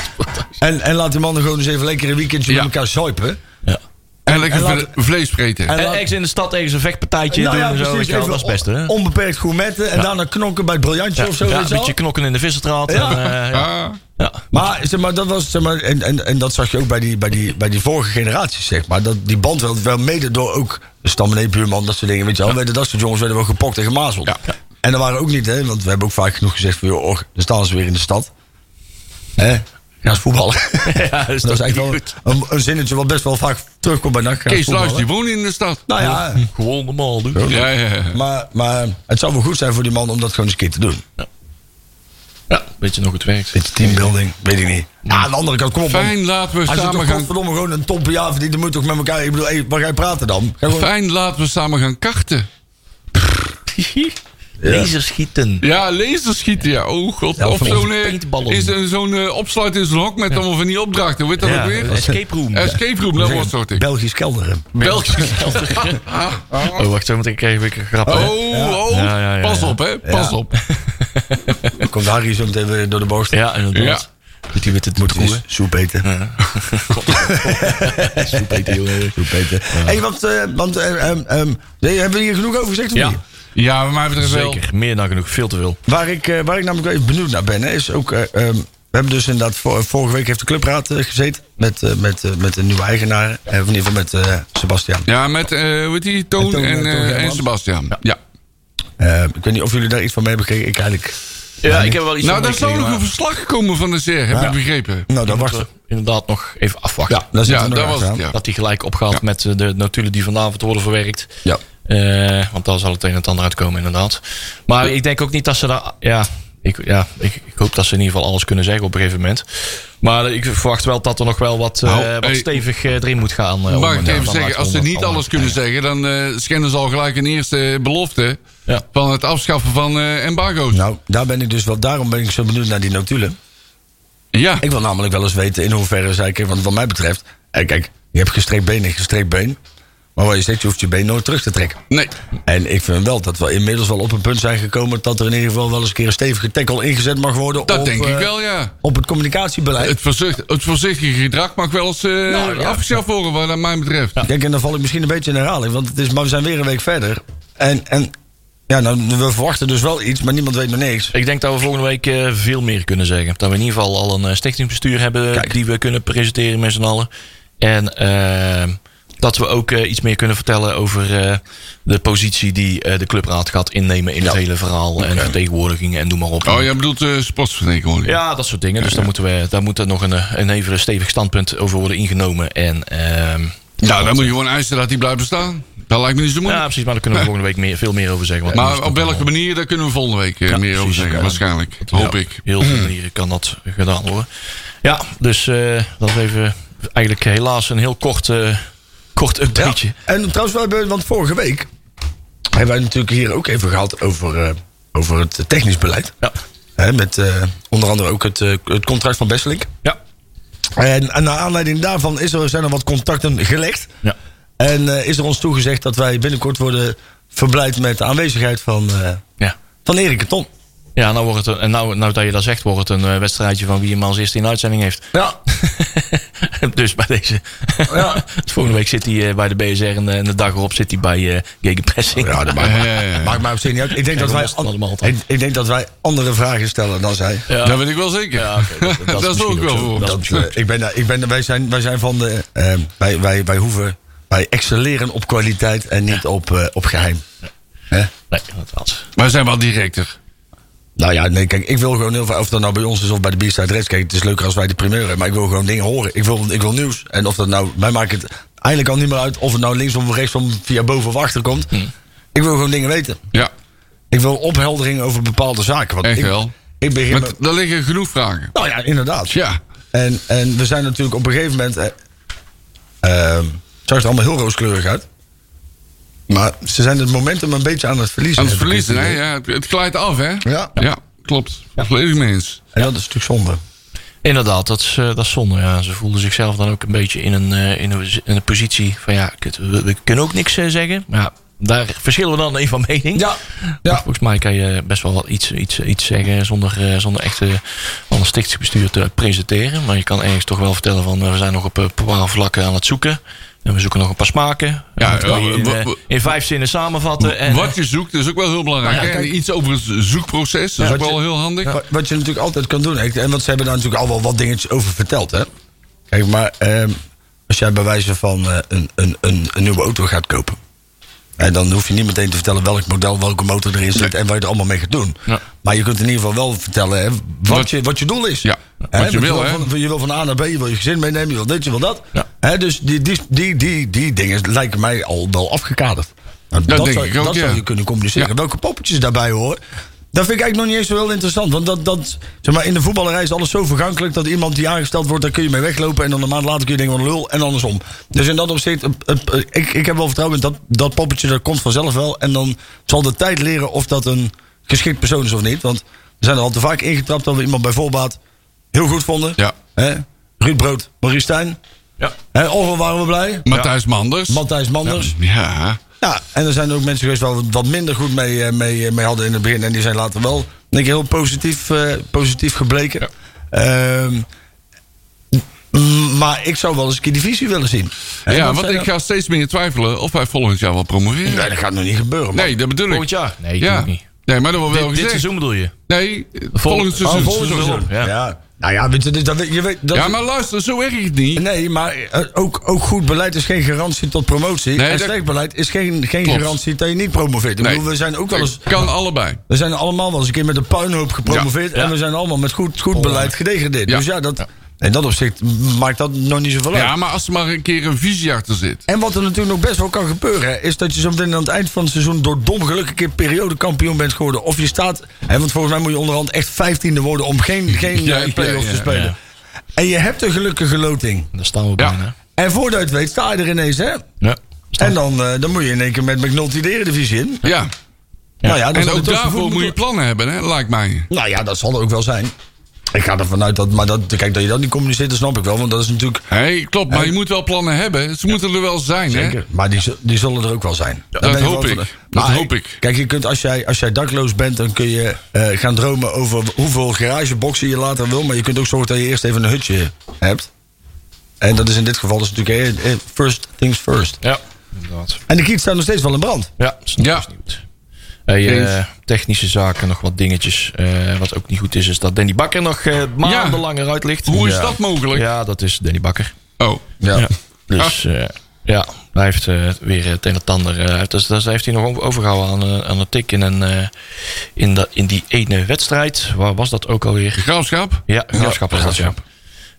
S3: En, en laat die man gewoon eens even lekker een weekendje
S4: Ja.
S3: met elkaar zuipen.
S2: Ja.
S4: En lekker
S3: En
S4: vle- vlees vreten.
S3: En
S2: En
S3: laat-
S2: ergens in de stad ergens een vechtpartijtje
S3: Nou
S2: doen.
S3: ja,
S2: en zo, weet je wel,
S3: even
S2: dat is best, hè?
S3: on- Onbeperkt gourmetten en daarna knokken bij het briljantje
S2: Ja,
S3: of zo.
S2: ja,
S3: weet
S2: een
S3: je wel.
S2: beetje knokken in de vissenstraat.
S3: Ja.
S2: En, eh, ja.
S4: Ah,
S2: Ja.
S3: Maar, zeg maar, dat was, zeg maar en, en, en dat zag je ook bij die, bij die, bij die vorige generaties, zeg maar. Dat die band werd wel mede door ook Stammenee, Buurman, dat soort dingen. Weet je wel, werden dat soort jongens werden wel gepokt en gemazeld.
S4: Ja. Ja.
S3: En dat waren ook niet, hè, want we hebben ook vaak genoeg gezegd van... joh, och, dan staan ze weer in de stad. Hè? Ja, is voetballen.
S2: Ja,
S3: dat is eigenlijk wel een, een zinnetje wat best wel vaak terugkomt bij NAC. Gaan
S4: Kees Luijs,
S3: voetballen.
S4: die woont in de stad.
S3: Nou ja,
S2: Gewoon normaal doen.
S4: Ja, ja, ja.
S3: maar, maar het zou wel goed zijn voor die man om dat gewoon eens een keer te doen.
S2: Ja, weet je nog hoe het werkt?
S3: Beetje teambuilding, weet ik niet. Ja, aan de andere kant, kom op man.
S4: Fijn, laten we
S3: Als je
S4: samen
S3: toch
S4: gaan...
S3: godverdomme gewoon een ton per jaar verdient, dan moet je toch met elkaar... Ik bedoel, hey, waar ga je praten dan? Ga gewoon...
S4: Fijn, laten we samen gaan karten.
S2: Lasers schieten.
S4: Ja, lasers schieten, ja. Oh god.
S2: Ja,
S4: of
S2: van
S4: zo'n
S2: onze
S4: eh,
S2: paintballen.
S4: is er zo'n eh, opsluit in zo'n hok met allemaal van die opdrachten. Weet dat
S2: Ja,
S4: ook weer?
S2: escape room.
S4: Escape room, Eh, dat wordt soort ik.
S3: Belgisch kelderen.
S4: Belgisch.
S2: Oh, wacht, zo meteen krijg ik een grap. hè?
S4: Oh, oh.
S2: Ja, ja, ja,
S4: Pas
S2: ja.
S4: op, hè. Pas op.
S3: Dan komt Harry zo meteen weer door de bocht.
S2: Ja, inderdaad. Dat die met het moet
S3: Moet eens
S2: koelen.
S3: soep eten.
S2: Soep eten, jongen.
S3: Soep eten. Hé, wat, eh, want, eh, ehm, ehm, nee, hebben we hier genoeg over gezegd of
S2: Ja.
S3: niet?
S4: Ja, maar mij betreft wel.
S2: Zeker, meer dan genoeg, veel te veel.
S3: Waar ik, eh, waar ik namelijk wel even benieuwd naar ben, hè, is ook. eh, ehm, we hebben dus inderdaad, vor- vorige week heeft de clubraad eh, gezeten met, eh, met, eh, met een nieuwe eigenaar. eh, of in ieder geval met eh, Sebastian.
S4: Ja, met, eh weet je, Toon,
S3: Met Toon,
S4: en,
S3: eh, Toon
S4: eh, en
S3: Hermans.
S4: Sebastian. Ja.
S3: Eh, ik weet niet of jullie daar iets van mee hebben gekregen. Ik eigenlijk.
S2: Ja, ik heb wel iets
S4: Nou,
S2: van
S4: daar zou nog
S2: meegekregen,
S4: een verslag gekomen van de SER, heb ik begrepen.
S3: Nou,
S2: maar
S3: dan wacht.
S2: moeten we Inderdaad, nog even afwachten.
S3: Ja, daar zit
S4: Ja,
S3: er nog
S4: dat
S3: aan
S4: was
S3: te
S4: het,
S3: gaan.
S4: ja.
S2: Dat die gelijk opgaat met eh, de notulen die vanavond worden verwerkt.
S3: Ja.
S2: Eh, want daar zal het een en het ander uitkomen, inderdaad. Maar ik denk ook niet dat ze daar. Ja, ik, ja ik, ik hoop dat ze in ieder geval alles kunnen zeggen op een gegeven moment. Maar ik verwacht wel dat er nog wel wat, eh,
S4: Nou,
S2: wat
S4: hey.
S2: stevig eh, erin moet gaan. eh, om
S4: Mag ik
S2: het, eh,
S4: even
S2: dan
S4: zeggen,
S2: uit
S4: als ze
S2: onder-
S4: niet
S2: van-
S4: alles kunnen zeggen, dan eh, schenden ze al gelijk een eerste belofte
S2: Ja.
S4: van het afschaffen van eh, embargo's.
S3: Nou, daar ben ik dus wel, daarom ben ik zo benieuwd naar die notulen.
S4: Ja,
S3: Ik wil namelijk wel eens weten in hoeverre zij, kijk, want wat mij betreft, eh, kijk, je hebt gestrekt been en gestrekt been. Maar wat je zegt, je hoeft je been nooit terug te trekken.
S4: nee.
S3: En ik vind wel dat we inmiddels wel op een punt zijn gekomen dat er in ieder geval wel eens een keer een stevige tackle ingezet mag worden.
S4: Dat
S3: op,
S4: denk ik
S3: eh,
S4: wel, ja.
S3: Op het communicatiebeleid.
S4: Het, voorzicht, het voorzichtige gedrag mag wel eens eh, afgeschaft worden, wat dat mij betreft.
S3: Kijk, en dan val ik misschien een beetje in herhaling, want het is, maar we zijn weer een week verder. En, en ja, nou, we verwachten dus wel iets, maar niemand weet nog niks.
S2: Ik denk dat we volgende week eh, veel meer kunnen zeggen. Dat we in ieder geval al een eh, stichtingsbestuur hebben
S3: Kijk.
S2: die we kunnen presenteren met z'n allen. En eh, dat we ook eh, iets meer kunnen vertellen over eh, de positie die eh, de clubraad gaat innemen in het hele verhaal. En vertegenwoordigingen en doe maar op.
S4: Oh, jij bedoelt eh sportsvertegenwoordiging.
S2: Ja, dat soort dingen. Dus daar, moeten we, daar moet er nog een, eh, een even stevig standpunt over worden ingenomen. En, ehm,
S4: Nou, dan moet je gewoon eisen dat die blijft bestaan. Dat lijkt me niet zo
S2: ja,
S4: moeilijk.
S2: precies. Maar daar kunnen we volgende week meer, veel meer over zeggen. Want anders
S4: maar op
S2: dan
S4: welke
S2: al
S4: manier, daar kunnen we volgende week eh, meer over
S2: precies,
S4: zeggen,
S2: ja.
S4: waarschijnlijk. Hoop
S2: Ja,
S4: ik.
S2: Heel veel manieren kan dat gedaan worden. Ja, dus eh, dat is even eigenlijk helaas een heel kort, eh, kort updateje.
S3: En trouwens, wel, hebben- want vorige week hebben wij natuurlijk hier ook even gehad over, eh, over het technisch beleid.
S2: Ja.
S3: Hè, met eh, onder andere ook het, eh, het contract van Besselink.
S2: Ja.
S3: En, en naar aanleiding daarvan is er, zijn er wat contacten gelegd.
S2: Ja.
S3: En eh, is er ons toegezegd dat wij binnenkort worden verblijd met de aanwezigheid van, eh,
S2: ja.
S3: van Erik en Ton.
S2: Ja, nou, wordt het een, en nou, nou dat je dat zegt, wordt het een eh, wedstrijdje van wie hem als eerste in de uitzending heeft.
S3: Ja.
S2: dus bij deze.
S3: Ja.
S2: Volgende week zit hij eh, bij de BSR en, eh, en de dag erop zit hij bij eh Gegenpressing.
S3: Ja, dat maakt,
S4: Ja, ja, ja.
S3: maakt mij op zich niet uit. Ik denk, dat
S2: we
S3: wij
S2: lossen het
S3: an-
S2: allemaal, toch?
S3: ik, ik denk dat wij andere vragen stellen dan zij.
S2: Ja.
S4: Dat weet ik wel zeker.
S2: oké, dat- dat is
S4: dat, is
S2: misschien
S4: ook
S2: ook
S4: wel
S2: zo.
S4: voor.
S2: Dat-
S3: Dat, eh, ik ben, daar- ik ben, daar- wij, zijn, wij zijn van de. eh, wij, wij, wij hoeven. Wij excelleren op kwaliteit en niet op, eh, op geheim. Hè?
S2: Nee, inderdaad.
S4: Wij zijn wel directer.
S3: Nou ja, nee, kijk, ik wil gewoon heel veel. Of dat nou bij ons is of bij de Bierstijd Reds. Kijk, het is leuker als wij de primeur hebben. Maar ik wil gewoon dingen horen. Ik wil, ik wil nieuws. En of dat nou. Wij maken het eigenlijk al niet meer uit of het nou linksom of rechtsom via boven of achter komt.
S4: Hm.
S3: Ik wil gewoon dingen weten.
S4: Ja,
S3: Ik wil opheldering over bepaalde zaken. Want
S4: echt
S3: ik,
S4: wel.
S3: Ik begin.
S4: Maar
S3: met-
S4: daar liggen genoeg vragen.
S3: nou ja, inderdaad.
S4: Tja,
S3: En, en we zijn natuurlijk op een gegeven moment. Eh, ehm, zag het er allemaal heel rooskleurig uit. Maar ze zijn het momentum een beetje aan het verliezen.
S4: aan het
S3: heb ik
S4: verliezen, hè?
S3: idee.
S4: Ja, het- het glijdt af, hè?
S3: Ja.
S4: Ja, klopt. Volledig mee eens.
S3: En dat is natuurlijk zonde.
S2: Inderdaad, dat is, eh, dat is zonde. Ja. Ze voelden zichzelf dan ook een beetje in een, eh, in een, in een positie van ja, kut, we, we kunnen ook niks eh, zeggen. Maar ja, daar verschillen we dan even van mening.
S3: Ja,
S2: Maar
S3: ja.
S2: volgens mij kan je best wel wat iets, iets, iets zeggen zonder, eh, zonder echt eh, van een stichtingsbestuur te presenteren. Maar je kan ergens toch wel vertellen van eh, we zijn nog op eh, bepaalde vlakken aan het zoeken. En we zoeken nog een paar smaken.
S4: Ja,
S2: Dat kan je in,
S4: eh, wa-
S2: eh,
S4: wa-
S2: in vijf zinnen samenvatten. En, eh,
S4: Wat je zoekt is ook wel heel belangrijk.
S3: Nou ja,
S4: hè? En
S3: kijk-
S4: iets over het zoekproces,
S3: Ja,
S4: dat is ook
S3: Dus wat
S4: wel
S3: je-
S4: heel handig.
S3: Wat- Wat je natuurlijk altijd kan doen. ik- En wat ze hebben daar natuurlijk al wel wat dingetjes over verteld. Hè? Kijk, maar ehm, als jij bij wijze van eh, een, een, een, een nieuwe auto gaat kopen. En dan hoef je niet meteen te vertellen welk model, welke motor erin zit en wat je er allemaal mee gaat doen.
S2: Ja.
S3: Maar je kunt in ieder geval wel vertellen hè, wat,
S4: Wat-
S3: je, wat je doel is.
S4: Ja,
S3: Hè,
S4: wat je
S3: want
S4: wil, hè.
S3: Van, je wil van A naar B, je wil je gezin meenemen, je wil dit, je wil dat.
S2: Ja.
S3: Hè, dus die, die, die, die, die dingen lijken mij al wel afgekaderd. Nou,
S4: Dat denk
S3: zou,
S4: ik ook,
S3: dat zou
S4: ja.
S3: je kunnen communiceren.
S4: Ja.
S3: Welke poppetjes daarbij horen. Dat vind ik eigenlijk nog niet eens zo heel interessant. Want dat, dat, zeg maar, in de voetballerij is alles zo vergankelijk... dat iemand die aangesteld wordt, daar kun je mee weglopen... en dan een maand later kun je denken van lul en andersom. Dus in dat opzicht, eh, eh, eh, ik, ik heb wel vertrouwen in dat, dat poppetje... dat komt vanzelf wel. En dan zal de tijd leren of dat een geschikt persoon is of niet. Want we zijn er al te vaak ingetrapt... dat we iemand bij voorbaat heel goed vonden.
S4: Ja.
S3: Hè? Ruud Brood, Marie Stijn.
S2: Ja.
S3: Hè, Orwell waren we blij.
S4: Matthijs Manders.
S3: Matthijs Manders.
S4: ja.
S3: Ja, en er zijn ook mensen geweest waar we wat minder goed mee, eh, mee, eh, mee hadden in het begin. En die zijn later wel, denk ik, heel positief, eh, positief gebleken. Ehm, m- Maar ik zou wel eens een keer divisie willen zien. Hè,
S4: ja, want
S3: zij
S4: ik
S3: dan-
S4: ga steeds meer twijfelen of wij volgend jaar wel promoveren.
S3: Nee, dat gaat nog niet gebeuren. man.
S4: Nee, dat bedoel ik.
S2: Volgend jaar? Nee, ik
S4: ja.
S2: denk niet.
S4: Nee, maar dat wordt wel
S2: Dit, dit
S4: gezegd.
S2: seizoen bedoel je?
S4: Nee, volgend
S2: oh,
S4: seizoen.
S2: volgend seizoen.
S3: Ja.
S2: Ja.
S3: Nou ja, weet je, dit- dat, je weet, dat,
S4: Ja, maar luister, zo werkt het niet.
S3: Nee, maar eh, ook, ook goed beleid is geen garantie tot promotie.
S4: Nee,
S3: en
S4: dat-
S3: slecht beleid is geen, geen
S4: Klopt.
S3: garantie dat je niet promoveert. Ik
S4: Nee.
S3: bedoel, we zijn ook wel eens...
S4: Het kan allebei.
S3: We zijn allemaal wel eens een keer met een puinhoop gepromoveerd. En we zijn allemaal met goed, goed beleid gedegradeerd.
S4: Ja.
S3: Dus ja, dat, in dat opzicht maakt dat nog niet zoveel uit.
S4: Ja, maar als er maar een keer een visie achter zit.
S3: En wat er natuurlijk nog best wel kan gebeuren... hè, is dat je zo meteen aan het eind van het seizoen... door dom geluk een keer periodekampioen bent geworden. Of je staat... Hè, want volgens mij moet je onderhand echt vijftiende worden... om geen, geen
S4: Ja,
S3: eh,
S4: ja,
S3: play-offs
S4: ja,
S3: te spelen.
S2: ja.
S3: En je hebt een gelukkige loting.
S2: Daar staan we
S4: Ja.
S2: bijna.
S3: En voordat je het weet sta je er ineens, hè?
S2: Ja.
S3: En dan, eh, dan moet je in één keer met McNulty de Eredivisie in.
S4: Ja.
S3: Nou ja, dan
S4: En
S3: zal
S4: ook
S3: het wel
S4: daarvoor
S3: vervoerd
S4: moet je
S3: moeten-
S4: plannen hebben, hè, lijkt mij.
S3: Nou ja, dat zal er ook wel zijn. Ik ga ervan uit dat... Maar dat, kijk, dat je dat niet communiceert, dat snap ik wel. Want dat is natuurlijk...
S4: Hé, klopt, maar je moet wel plannen hebben. Ze moeten er wel zijn, hè?
S3: Maar die, zul- die zullen er ook wel zijn. Daar
S4: dat
S3: ben
S4: hoop
S3: wel
S4: ik.
S3: van-
S4: Dat
S3: Maar
S4: hoop ik.
S3: Kijk, je kunt, als, jij, als jij dakloos bent, dan kun je eh, gaan dromen over hoeveel garageboxen je later wil. Maar je kunt ook zorgen dat je eerst even een hutje hebt. En dat is in dit geval dus natuurlijk eh, eh, first things first.
S2: Ja, inderdaad.
S3: En de kiet staat nog steeds wel in brand.
S2: Ja, is nog
S4: Ja.
S2: steeds niet goed. Hey, eh, technische zaken, nog wat dingetjes. Eh, wat ook niet goed is, is dat Danny Bakker nog eh, maandenlang eruit ligt.
S4: Hoe is
S2: Ja.
S4: dat mogelijk? Ah.
S2: Ja, dat is Danny Bakker.
S4: Oh,
S3: Ja.
S2: Dus eh, ja, hij heeft eh, weer het een en het ander. eh, dus daar heeft hij nog over- overgehouden aan, eh, aan het tik in, een, eh, in, dat- in die ene wedstrijd. Waar was dat ook alweer?
S4: graafschap?
S2: Ja, graafschap was dat, ja.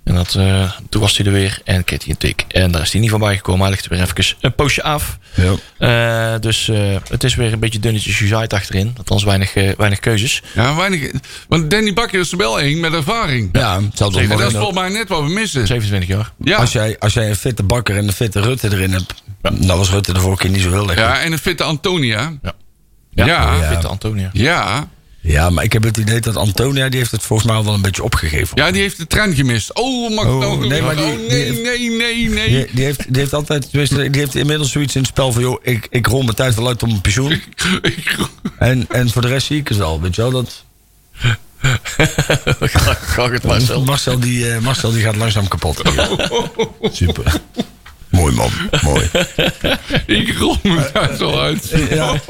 S2: En dat, eh, toen was hij er weer en kreeg hij een tik. En daar is hij niet van bijgekomen. Hij ligt er weer even een poosje af.
S3: Ja.
S2: Eh, dus eh, het is weer een beetje dunnetjes gezaaid achterin. Althans, weinig, eh, weinig keuzes.
S4: Ja, weinig. Want Danny Bakker is er wel één met ervaring.
S3: Ja, hetzelfde
S4: En dat is
S3: als
S4: volgens mij net wat we missen.
S2: 27 jaar.
S4: Ja,
S3: Als jij, als jij een fitte bakker en een fitte Rutte erin hebt. Dan was Rutte de vorige keer niet zo heel lekker.
S4: ja en een fitte Antonia.
S2: Ja.
S4: Ja.
S2: Witte Antonia.
S4: Ja.
S3: Ja, maar ik heb het idee dat Antonia, die heeft het volgens mij wel een beetje opgegeven.
S4: ja, die heeft de trein gemist. Oh, mag ik
S3: Oh,
S4: nou
S3: nee, maar die-
S4: oh, nee,
S3: die-
S4: nee, nee, nee.
S3: Die, die heeft, die heeft altijd, tenminste, die heeft inmiddels zoiets in het spel van, joh, ik, ik rol mijn tijd wel uit op mijn pensioen. En, en voor de rest zie ik het al, weet je wel. Dat
S2: Ga ik het maar zelf.
S3: Marcel, die, eh, Marcel die gaat langzaam kapot. Super. Mooi man, mooi.
S4: ik rol me daar zo uit.
S3: Ja.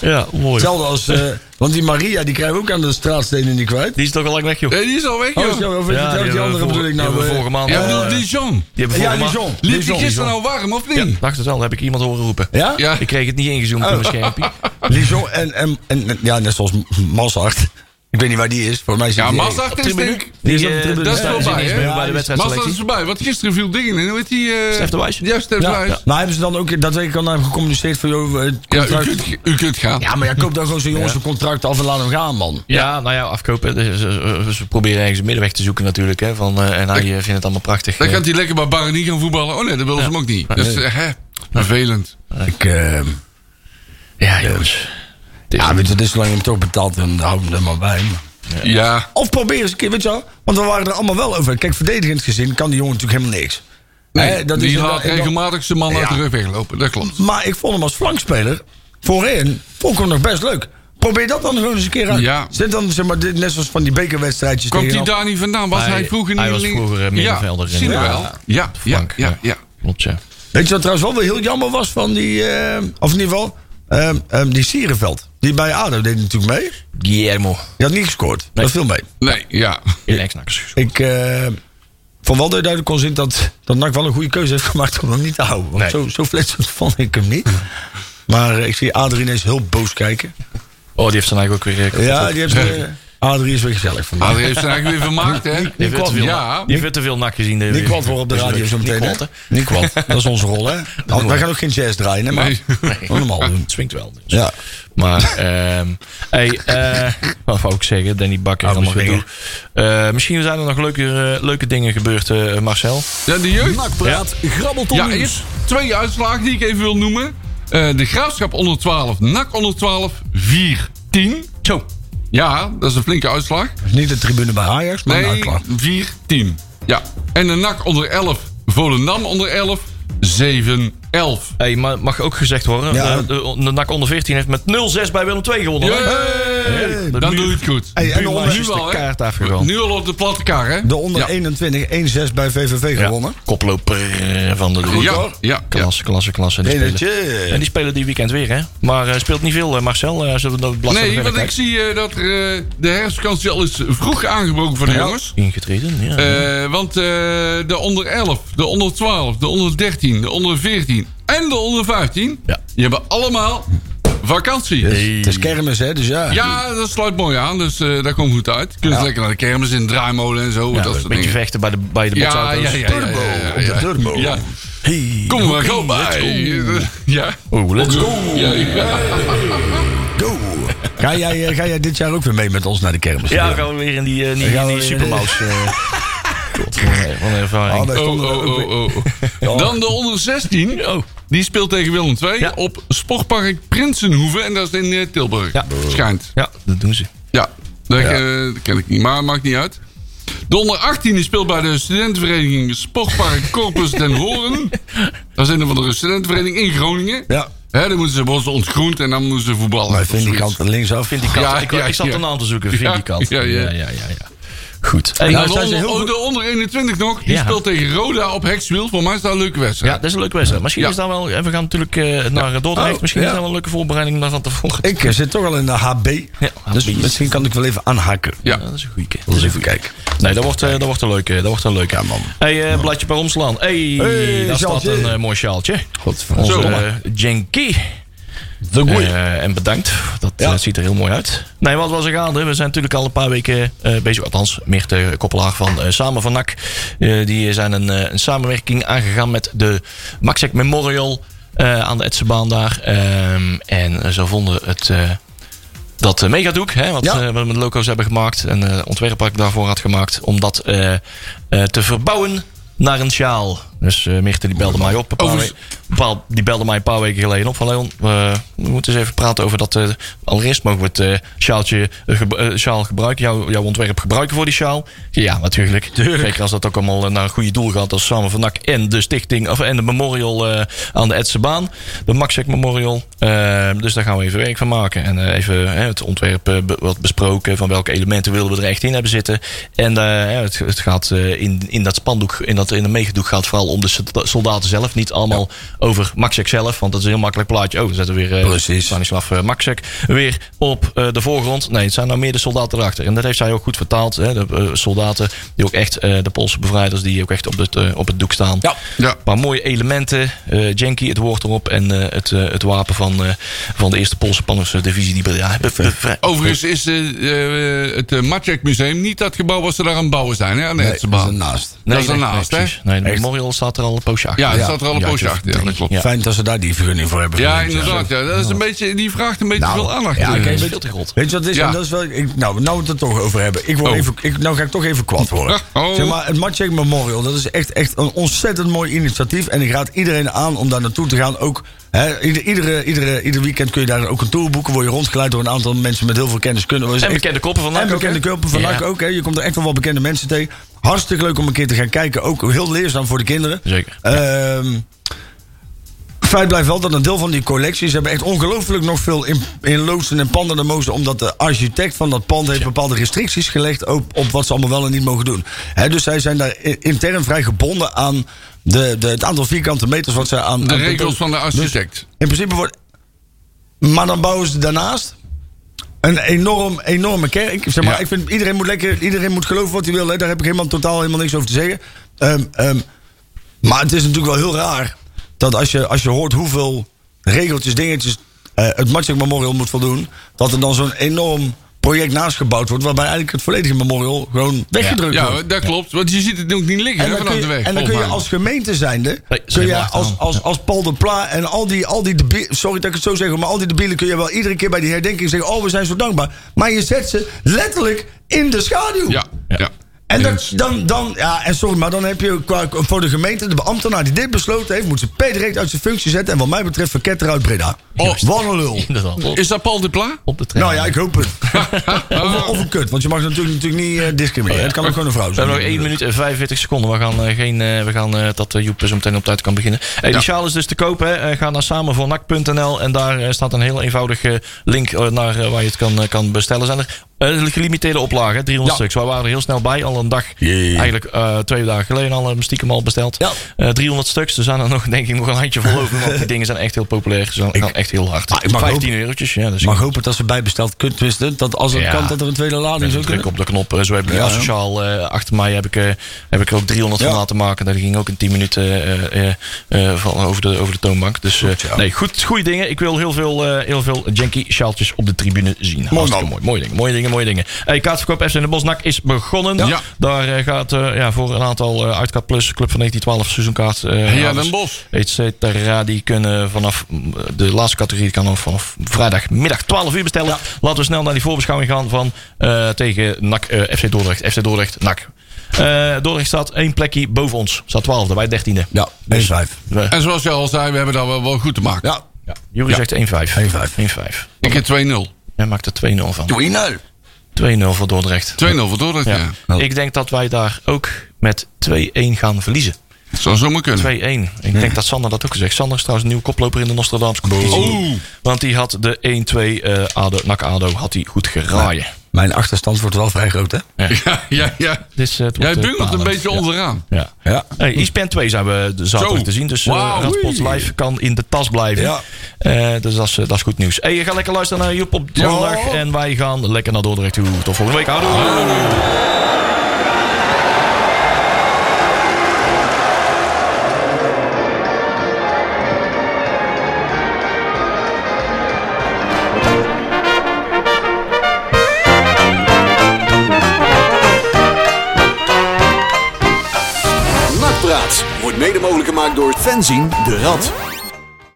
S2: Ja, mooi.
S3: Hetzelfde als, eh, want die Maria, die krijgen we ook aan de straatstenen niet kwijt.
S2: Die is toch al lang weg, joh.
S4: Nee, die is al weg,
S3: Oh, is
S4: joh.
S3: jou- of is het jou- die, andere bedoel ik nou. eh,
S2: vorige maand.
S4: Ja, bedoel, Dijon.
S2: Die hebben
S3: ja,
S2: vorige
S3: die
S2: maand-
S3: John.
S4: Liep
S3: John,
S4: die gisteren
S3: John.
S4: nou warm, of
S2: Ja,
S4: niet?
S2: dacht het wel. Dat heb ik iemand horen roepen.
S3: Ja?
S4: Ja.
S2: Ik kreeg het niet ingezoomd op mijn schermpje.
S3: Lijon en, en, en, ja, net zoals Mazart. Ik weet niet waar die is, voor mij zit
S4: Ja,
S3: die-
S4: Mazart is
S2: Tribune.
S4: denk ik...
S3: Die is
S2: Die,
S3: op de
S2: eh,
S3: tribune.
S4: Dat is
S3: Ja,
S2: wel
S3: ja,
S4: voorbij,
S2: ineens
S4: hè?
S2: meer bij de
S4: Mazda is
S2: wedstrijdselectie.
S4: voorbij, want gisteren viel dingen in. Hoe heet die? eh
S2: Stef de Wijs.
S4: Ja, Stef de
S3: Ja,
S4: Wijs.
S3: Maar Nou, hebben ze dan ook, dat weet ik al, nou even gecommuniceerd voor jou. Het
S4: Ja, u
S3: contract-
S4: kunt, u kunt gaan.
S3: Ja, maar jij koopt dan gewoon zo'n jongens een contract af en laat hem gaan, man.
S2: Ja, nou ja, afkopen. Dus, eh, eh, Ze proberen ergens een middenweg te zoeken natuurlijk. Hè, van, eh, en hij eh, vindt het allemaal prachtig.
S4: Dan
S2: eh.
S4: gaat hij lekker bij Barani gaan voetballen. Oh nee, dat wil ze hem ook niet. Dus eh, hè, vervelend.
S3: Ik, eh,
S2: Ja, jongens.
S3: ja, weet je, het is zolang je hem toch betaalt, dan hou hem er maar bij.
S4: Ja.
S3: Of probeer eens een keer, weet je wel. Want we waren er allemaal wel over. Kijk, verdedigend gezien kan die jongen natuurlijk helemaal niks.
S4: Nee,
S3: Hè, dat
S4: die
S3: is-
S4: laat
S3: en dan-
S4: regelmatig zijn man uit de
S3: Ja.
S4: rug weglopen. Dat klopt.
S3: Maar ik vond hem als flankspeler voorin vond ik hem nog best leuk. Probeer dat dan gewoon eens een keer uit.
S4: Ja.
S3: Zit dan zeg maar, dit- net zoals van die bekerwedstrijdjes.
S4: Komt hij
S3: tegen-
S4: daar niet vandaan? Was hij,
S2: Hij-
S4: vroeger niet
S2: hij was
S4: link-
S2: vroeger, eh, middenvelder
S4: Ja, zie je
S2: in de-
S4: wel.
S2: Ja.
S4: Ja, ja,
S2: Frank,
S4: ja, ja.
S2: Klopt, ja.
S3: Weet je wat trouwens wel weer heel jammer was van die... eh, of in ieder geval, eh, eh, die Sierenveld. Die bij ADO deed natuurlijk mee.
S2: Guillermo.
S3: Die had niet gescoord. Dat viel mee.
S4: Nee, ja.
S2: In Exnax.
S3: Ik eh vond wel dat je duidelijk kon zien dat, dat NAC wel een goede keuze heeft gemaakt om hem niet te houden. Want
S2: Nee.
S3: zo, zo flitsend vond ik hem niet. Maar eh, ik zie Adrie ineens heel boos kijken.
S2: Oh, die heeft zijn eigen ook weer... eh, kapot
S3: Ja,
S2: op-
S3: die heeft, eh, Adrie is weer gezellig vandaag.
S4: Maar hij heeft zijn eigen weer vermaakt, hè?
S2: Die heeft weer te veel,
S4: Ja.
S2: die heeft weer te veel nak gezien. eh,
S3: Niet
S2: weer.
S3: kwad voor op de
S2: Dat is
S3: radio
S2: leuk.
S3: zo meteen.
S2: Niet
S3: hè?
S2: kwad,
S3: Niet kwad. Dat is onze rol, hè? Nou, wij gaan ook geen jazz draaien, hè? Maar
S4: Nee.
S3: gewoon normaal
S2: hè?
S3: doen.
S2: Het swingt wel. dus.
S3: Ja.
S2: Maar, ehm hey, eh, wat wou ik zeggen? Danny Bakker,
S3: Oh,
S2: allemaal
S3: bezwingen.
S2: gedoe. Eh, misschien zijn er nog leuke, eh, leuke dingen gebeurd, eh, Marcel.
S4: Ja, de jeugd.
S1: Nakpraat, grabbelton
S4: Ja,
S1: nieuws.
S4: eerst twee uitslagen die ik even wil noemen. Eh, de Graafschap onder 12, NAC onder 12, 4, 10.
S2: Zo.
S4: Ja, dat is een flinke uitslag.
S3: Niet de tribune bij Ajax, maar nou,
S4: Nee,
S3: klaar.
S4: 4, 10. Ja. En de NAC onder 11, Volendam onder 11, 7, 11.
S2: Hey, maar mag ook gezegd worden, eh,
S3: Ja.
S2: de, de, de NAC onder 14 heeft met 0-6 bij Willem 2 gewonnen. hè?
S4: Yay! Hey, Nou, dan doe je het goed.
S3: Hey, en de onder,
S4: nu al,
S2: de
S4: hè?
S2: kaart afgegaan.
S4: Nu al op de platte kar, hè?
S3: de onder
S4: ja.
S3: 21 1-6 bij VVV gewonnen.
S2: Koploper van de groep.
S4: Ja, ja, ja.
S2: Klasse, klasse, klasse. En die, spelen, en
S3: Enertje.
S2: die spelen die weekend weer, hè? Maar eh, speelt niet veel, eh, Marcel. eh, zullen we dat blad
S4: Nee, want ik zie eh, dat er, eh, de herfstvakantie al is vroeg aangebroken voor de jongens.
S2: Ingetreden, ja.
S4: Eh, want eh, de onder 11, de onder 12, de onder 13, de onder 14 en de onder 15...
S2: Ja.
S4: die hebben allemaal vakantie.
S3: Het is kermis, hè? Dus ja.
S4: Ja, dat sluit mooi aan, dus eh dat komt goed uit. Kunnen ze lekker naar de kermis in de draaimolen en zo.
S2: Ja,
S4: dat
S2: een
S4: soort
S2: beetje
S4: dingen.
S2: vechten bij de, bij de
S4: Ja,
S2: botsauto's.
S4: ja, ja.
S3: Turbo. Op de turbo.
S4: Ja.
S2: Hey,
S4: Kom maar,
S2: hockey,
S4: go bij.
S2: let's
S4: Ja.
S2: go. Oh, let's go.
S4: Ja, oh, ja.
S3: Go! Ga jij, eh, ga jij dit jaar ook weer mee met ons naar de kermis?
S2: Ja, gaan we weer in die, eh, die,
S3: gaan
S2: die,
S3: we weer in de-
S2: supermouse. eh. God, wat een- wat een ervaring.
S3: Oh, daar
S4: Oh,
S3: stonden we
S4: oh,
S3: ook
S4: oh,
S3: weer.
S4: oh, oh. Dan de onder 16.
S2: Oh.
S4: Die speelt tegen Willem II
S2: Ja.
S4: op Sportpark Prinsenhoeve. En dat is in eh, Tilburg.
S2: Ja.
S4: Schijnt.
S2: Ja, dat doen ze.
S4: Ja, dat, eh, dat ken ik niet. Maar maakt niet uit. De onder 18 die speelt bij de studentenvereniging Sportpark Corpus Den Hoorn. Dat is een van de studentenvereniging in Groningen.
S3: Ja.
S4: Hè, dan moeten ze worden ze ontgroend en dan moeten ze voetballen.
S3: Maar
S4: Of
S3: vind die
S4: zoiets.
S3: kant linksaf.
S2: Vind die kant.
S4: Ja,
S2: ik,
S4: ja,
S2: ik zat
S4: ja.
S2: een aan te zoeken. Vind
S4: Ja,
S2: die kant.
S4: ja, ja.
S2: ja, ja, ja. Goed. Hey,
S4: En
S2: nou,
S4: dan
S3: zijn
S4: de
S3: ze heel
S4: onder, oh,
S3: goed.
S4: de onder 21 nog. Die
S2: Ja.
S4: speelt tegen Roda op Hekswiel. Voor mij is dat een leuke wedstrijd.
S2: ja, dat is een leuke wedstrijd. Misschien
S4: Ja.
S2: is dat wel... eh, We gaan natuurlijk eh, naar eh, Dordrecht.
S3: Oh,
S2: Misschien
S3: ja.
S2: is dat wel een leuke voorbereiding naar van tevoren.
S3: Ik eh, zit toch al in de HB.
S2: HB.
S3: Dus misschien kan ik wel even aanhakken.
S4: Ja.
S2: Ja, dat is een goeie keer.
S3: Dat is even kijken.
S2: Nee, dat wordt, eh, dat wordt een leuke. Dat wordt een leuke.
S3: Ja, man.
S2: hey, eh, bladje per omslaan. hey,
S3: Hey,
S2: daar staat
S3: sjaaltje.
S2: een eh, mooi sjaaltje.
S3: Godverdomme.
S2: Onze
S4: Zo.
S2: eh, Jenky.
S3: De goeie.
S2: Eh, en bedankt. Dat eh, ziet er heel mooi uit. Nee, wat was er gaande? We zijn natuurlijk al een paar weken eh, bezig. Althans, Meert eh, Koppelaar van eh, Samen van NAC. Eh, die zijn een, eh, een samenwerking aangegaan met de Maxek Memorial eh, aan de Etsebaan daar. Ehm, en eh, ze vonden het... eh, dat eh, megadoek, hè, wat
S3: Ja.
S2: eh, we met loco's hebben gemaakt. En eh ontwerp had ik daarvoor had gemaakt. Om dat eh, eh, te verbouwen naar een sjaal. Dus eh Mirte die belde mij op. Een paar
S4: Overigens-
S2: we- een paar- die belde mij een paar weken geleden op. Van Leon, eh, we moeten eens even praten over dat. eh allereerst mogen we het eh, sjaaltje, eh, ge- eh, sjaal gebruiken. Jouw, jouw ontwerp gebruiken voor die sjaal. Ja, natuurlijk. Zeker als dat ook allemaal eh, naar een goede doel gaat. Als Samen van NAC en de stichting. Of, en de memorial eh, aan de Edsebaan. De Maxek Memorial. Eh, dus daar gaan we even werk van maken. En eh, even hè, het ontwerp eh, be- wat besproken. Van welke elementen willen we er echt in hebben zitten. En eh, hè, het, het gaat eh, in, in dat spandoek, in dat in de meegedoek gaat het vooral om de solda- soldaten zelf. Niet allemaal over Maxek zelf. Want dat is een heel makkelijk plaatje. Oh, we zetten weer eh,
S3: Precies.
S2: Stanislav eh, Maxek weer op eh, de voorgrond. Nee, het zijn nou meer de soldaten erachter. En dat heeft zij ook goed vertaald. Hè? De eh, soldaten die ook echt, eh, de Poolse bevrijders, die ook echt op het, eh, op het doek staan.
S3: Ja.
S4: Ja.
S2: Een paar mooie elementen. eh Jenky, het woord erop. En eh, het, eh, het wapen van, eh, van de eerste Poolse panzersdivisie. Die be- ja, be- bevrij-
S4: Overigens is eh, eh, het uh, Museum niet dat gebouw wat ze daar aan het bouwen zijn. Hè, aan de
S3: Nee, dat is
S4: Hetzenbaan.
S3: ernaast.
S4: dat is daarnaast, hè?
S2: precies. Nee, de memorial staat er al een poosje achter.
S4: Ja, het staat er al een poosje achter. Ja, dat klopt.
S2: Ja.
S3: Fijn dat ze daar die vergunning voor hebben.
S4: Ja,
S3: verleend,
S4: inderdaad. Ja. Dat is een beetje, die vraagt een beetje
S3: Nou,
S4: veel aandacht.
S3: ja,
S4: eh.
S2: Dat
S3: kijk,
S2: is
S3: weet-
S2: veel te groot.
S3: Weet je wat het is?
S4: Ja.
S3: En Dat is wel, ik, nou, nou we het er toch over hebben. Ik word
S4: Oh.
S3: even, ik, nou ga ik toch even kwaad worden.
S4: Oh.
S3: Zeg maar, het Matchek Memorial, dat is echt, echt een ontzettend mooi initiatief. En ik raad iedereen aan om daar naartoe te gaan. Ook, hè, ieder, iedere, iedere, ieder weekend kun je daar ook een tour boeken. Word je rondgeleid door een aantal mensen met heel veel kennis. Kunnen.
S2: En bekende koppen van NAC
S3: En
S2: ook,
S3: bekende
S2: hè?
S3: koppen van
S2: Ja.
S3: NAC ook. Hè. Je komt er echt wel wat bekende mensen tegen. Hartstikke leuk om een keer te gaan kijken. Ook heel leerzaam voor de kinderen.
S2: Zeker.
S3: Ehm, Feit blijft wel dat een deel van die collecties hebben echt ongelooflijk nog veel in, in loodsen en panden en mozen. Omdat de architect van dat pand heeft bepaalde restricties gelegd op, op wat ze allemaal wel en niet mogen doen. Hè, dus zij zijn daar i- intern vrij gebonden aan de, de, het aantal vierkante meters wat zij aan...
S4: De
S3: aan-
S4: regels van de architect.
S3: in principe wordt... Maar dan bouwen ze daarnaast een enorm, enorme kerk. Zeg maar,
S4: Ja.
S3: ik vind, iedereen moet lekker, iedereen moet geloven wat hij wil. Hè. Daar heb ik helemaal totaal helemaal niks over te zeggen. Ehm, ehm, maar het is natuurlijk wel heel raar dat als je, als je hoort hoeveel regeltjes, dingetjes eh, het Matchek Memorial moet voldoen, dat er dan zo'n enorm project naast gebouwd wordt, waarbij eigenlijk het volledige memorial gewoon weggedrukt
S4: ja,
S3: wordt.
S4: dat klopt. Want je ziet het ook niet liggen
S3: En
S4: hè,
S3: dan, kun
S4: vanaf
S3: je,
S4: de weg.
S3: en dan kun je
S4: volgens mij.
S3: als gemeente zijnde,
S2: Nee,
S3: kun
S2: zijn
S3: je
S2: laag
S3: als,
S2: aan.
S3: als,
S2: Ja.
S3: als Paul de Pla en al die, al die debielen, sorry dat ik het zo zeg, maar al die debielen kun je wel iedere keer bij die herdenking zeggen, oh we zijn zo dankbaar. Maar je zet ze letterlijk in de schaduw.
S4: Ja, ja.
S3: En dat,
S4: Eens.
S3: dan, dan, ja, en sorry, maar dan heb je qua, voor de gemeente, de ambtenaar die dit besloten heeft, moet ze per direct uit zijn functie zetten. En wat mij betreft, verket eruit Breda. Oh, wat een lul.
S2: Inderdaad. Op,
S4: Is dat Paul de Pla?
S2: op de trein.
S3: Nou ja, ik hoop het. of, of een kut, want je mag natuurlijk, natuurlijk niet eh, discrimineren.
S2: Oh
S3: Het kan ook gewoon een vrouw
S2: We hebben nog
S3: zijn.
S2: 1 minuut en 45 seconden. We gaan, eh, geen, eh, we gaan eh, dat eh, Joep zo meteen op tijd kan beginnen. Eh, Die sjaal is dus te koop. Hè. Eh, ga naar samenvoornak.nl en daar eh, staat een heel eenvoudige link eh, naar eh, waar je het kan, eh, kan bestellen. Zijn er eh, gelimiteerde oplagen, hè, 300 stuks. Wij waren er heel snel bij, al een dag. Eigenlijk eh, twee dagen geleden al eh, stiekem al besteld. Eh, 300 stuks, er zijn er nog denk ik nog een handje voor over. Want die dingen zijn echt heel populair. Ze gaan gaan echt heel hard.
S3: Ah, ik mag
S2: 15 eurotjes. Ja, dus
S3: Ik mag hopen dat ze bijbesteld kunt twisten. Dat als het
S2: Ja.
S3: kan, dat er een tweede lading zou
S2: ik druk
S3: kunnen.
S2: op de knop. Eh, Zo heb ik
S3: Ja,
S2: asociaal eh, achter mij heb ik, eh, heb ik er ook 300
S3: Ja.
S2: van laten maken. Daar ging ook in 10 minuten eh, eh, eh, van over, de, over de toonbank. Dus eh, nee, goed, goede dingen. Ik wil heel veel, eh, heel veel janky sjaaltjes op de tribune zien. Hartstikke
S3: man.
S2: mooi. Mooie dingen, mooie dingen, mooie dingen. Hey, kaartverkoop FC in de Bosnak is begonnen.
S4: Ja.
S2: Daar eh, gaat eh, ja, voor een aantal eh, Uitkaart Plus, Club van 1912, seizoenkaart. eh,
S4: Ja,
S2: houders,
S4: Den Bosch.
S2: Et cetera. Die kunnen vanaf mm, de laatste categorie kan nog vanaf vrijdagmiddag 12 uur bestellen. Laten we snel naar die voorbeschouwing gaan van eh, tegen NAC, eh, FC Dordrecht. FC Dordrecht, NAC. Eh, Dordrecht staat één plekje boven ons. Staat 12e, wij 13e.
S3: Ja,
S2: Dus
S3: 1-5.
S2: We-
S4: En zoals je al zei, we hebben dat wel, wel goed te maken.
S3: Ja.
S2: Jury zegt 1-5.
S3: 1-5.
S2: 1-5.
S4: Ik heb 2-0. 2-0
S2: Hij maakt er 2-0 van.
S3: Doe je nou?
S2: 2-0 voor Dordrecht.
S4: voor Dordrecht, ja.
S2: Ja. Ik denk dat wij daar ook met 2-1 gaan verliezen. 2-1.
S4: Dat zou zomaar kunnen.
S2: Ik denk dat Sander dat ook gezegd. Sander is trouwens een nieuw koploper in de Nostradamus competitie.
S4: Oeh.
S2: Want die had de 1-2 eh ADO, NAC ADO had hij goed geraaien.
S3: Mijn achterstand wordt wel vrij groot, hè?
S4: Ja, ja, ja.
S2: Dus, eh, het wordt,
S4: Jij
S2: eh,
S4: bungelt een
S2: bepalend.
S4: beetje
S2: Ja.
S4: onderaan.
S2: Ja.
S3: Ja.
S2: Hey, E ESPN 2 zijn we de zaterdag
S4: Zo.
S2: te zien. Dus eh
S4: Wauw.
S2: Radsport
S4: Oei.
S2: Live kan in de tas blijven.
S3: Ja.
S2: Eh, dus dat is, eh, dat is goed nieuws. Hey, je gaat lekker luisteren naar Joep op zondag. En wij gaan lekker naar Dordrecht toe. Tot volgende week. Houdoe.
S1: Nakpraat wordt mede mogelijk gemaakt door Fenzin de Rad.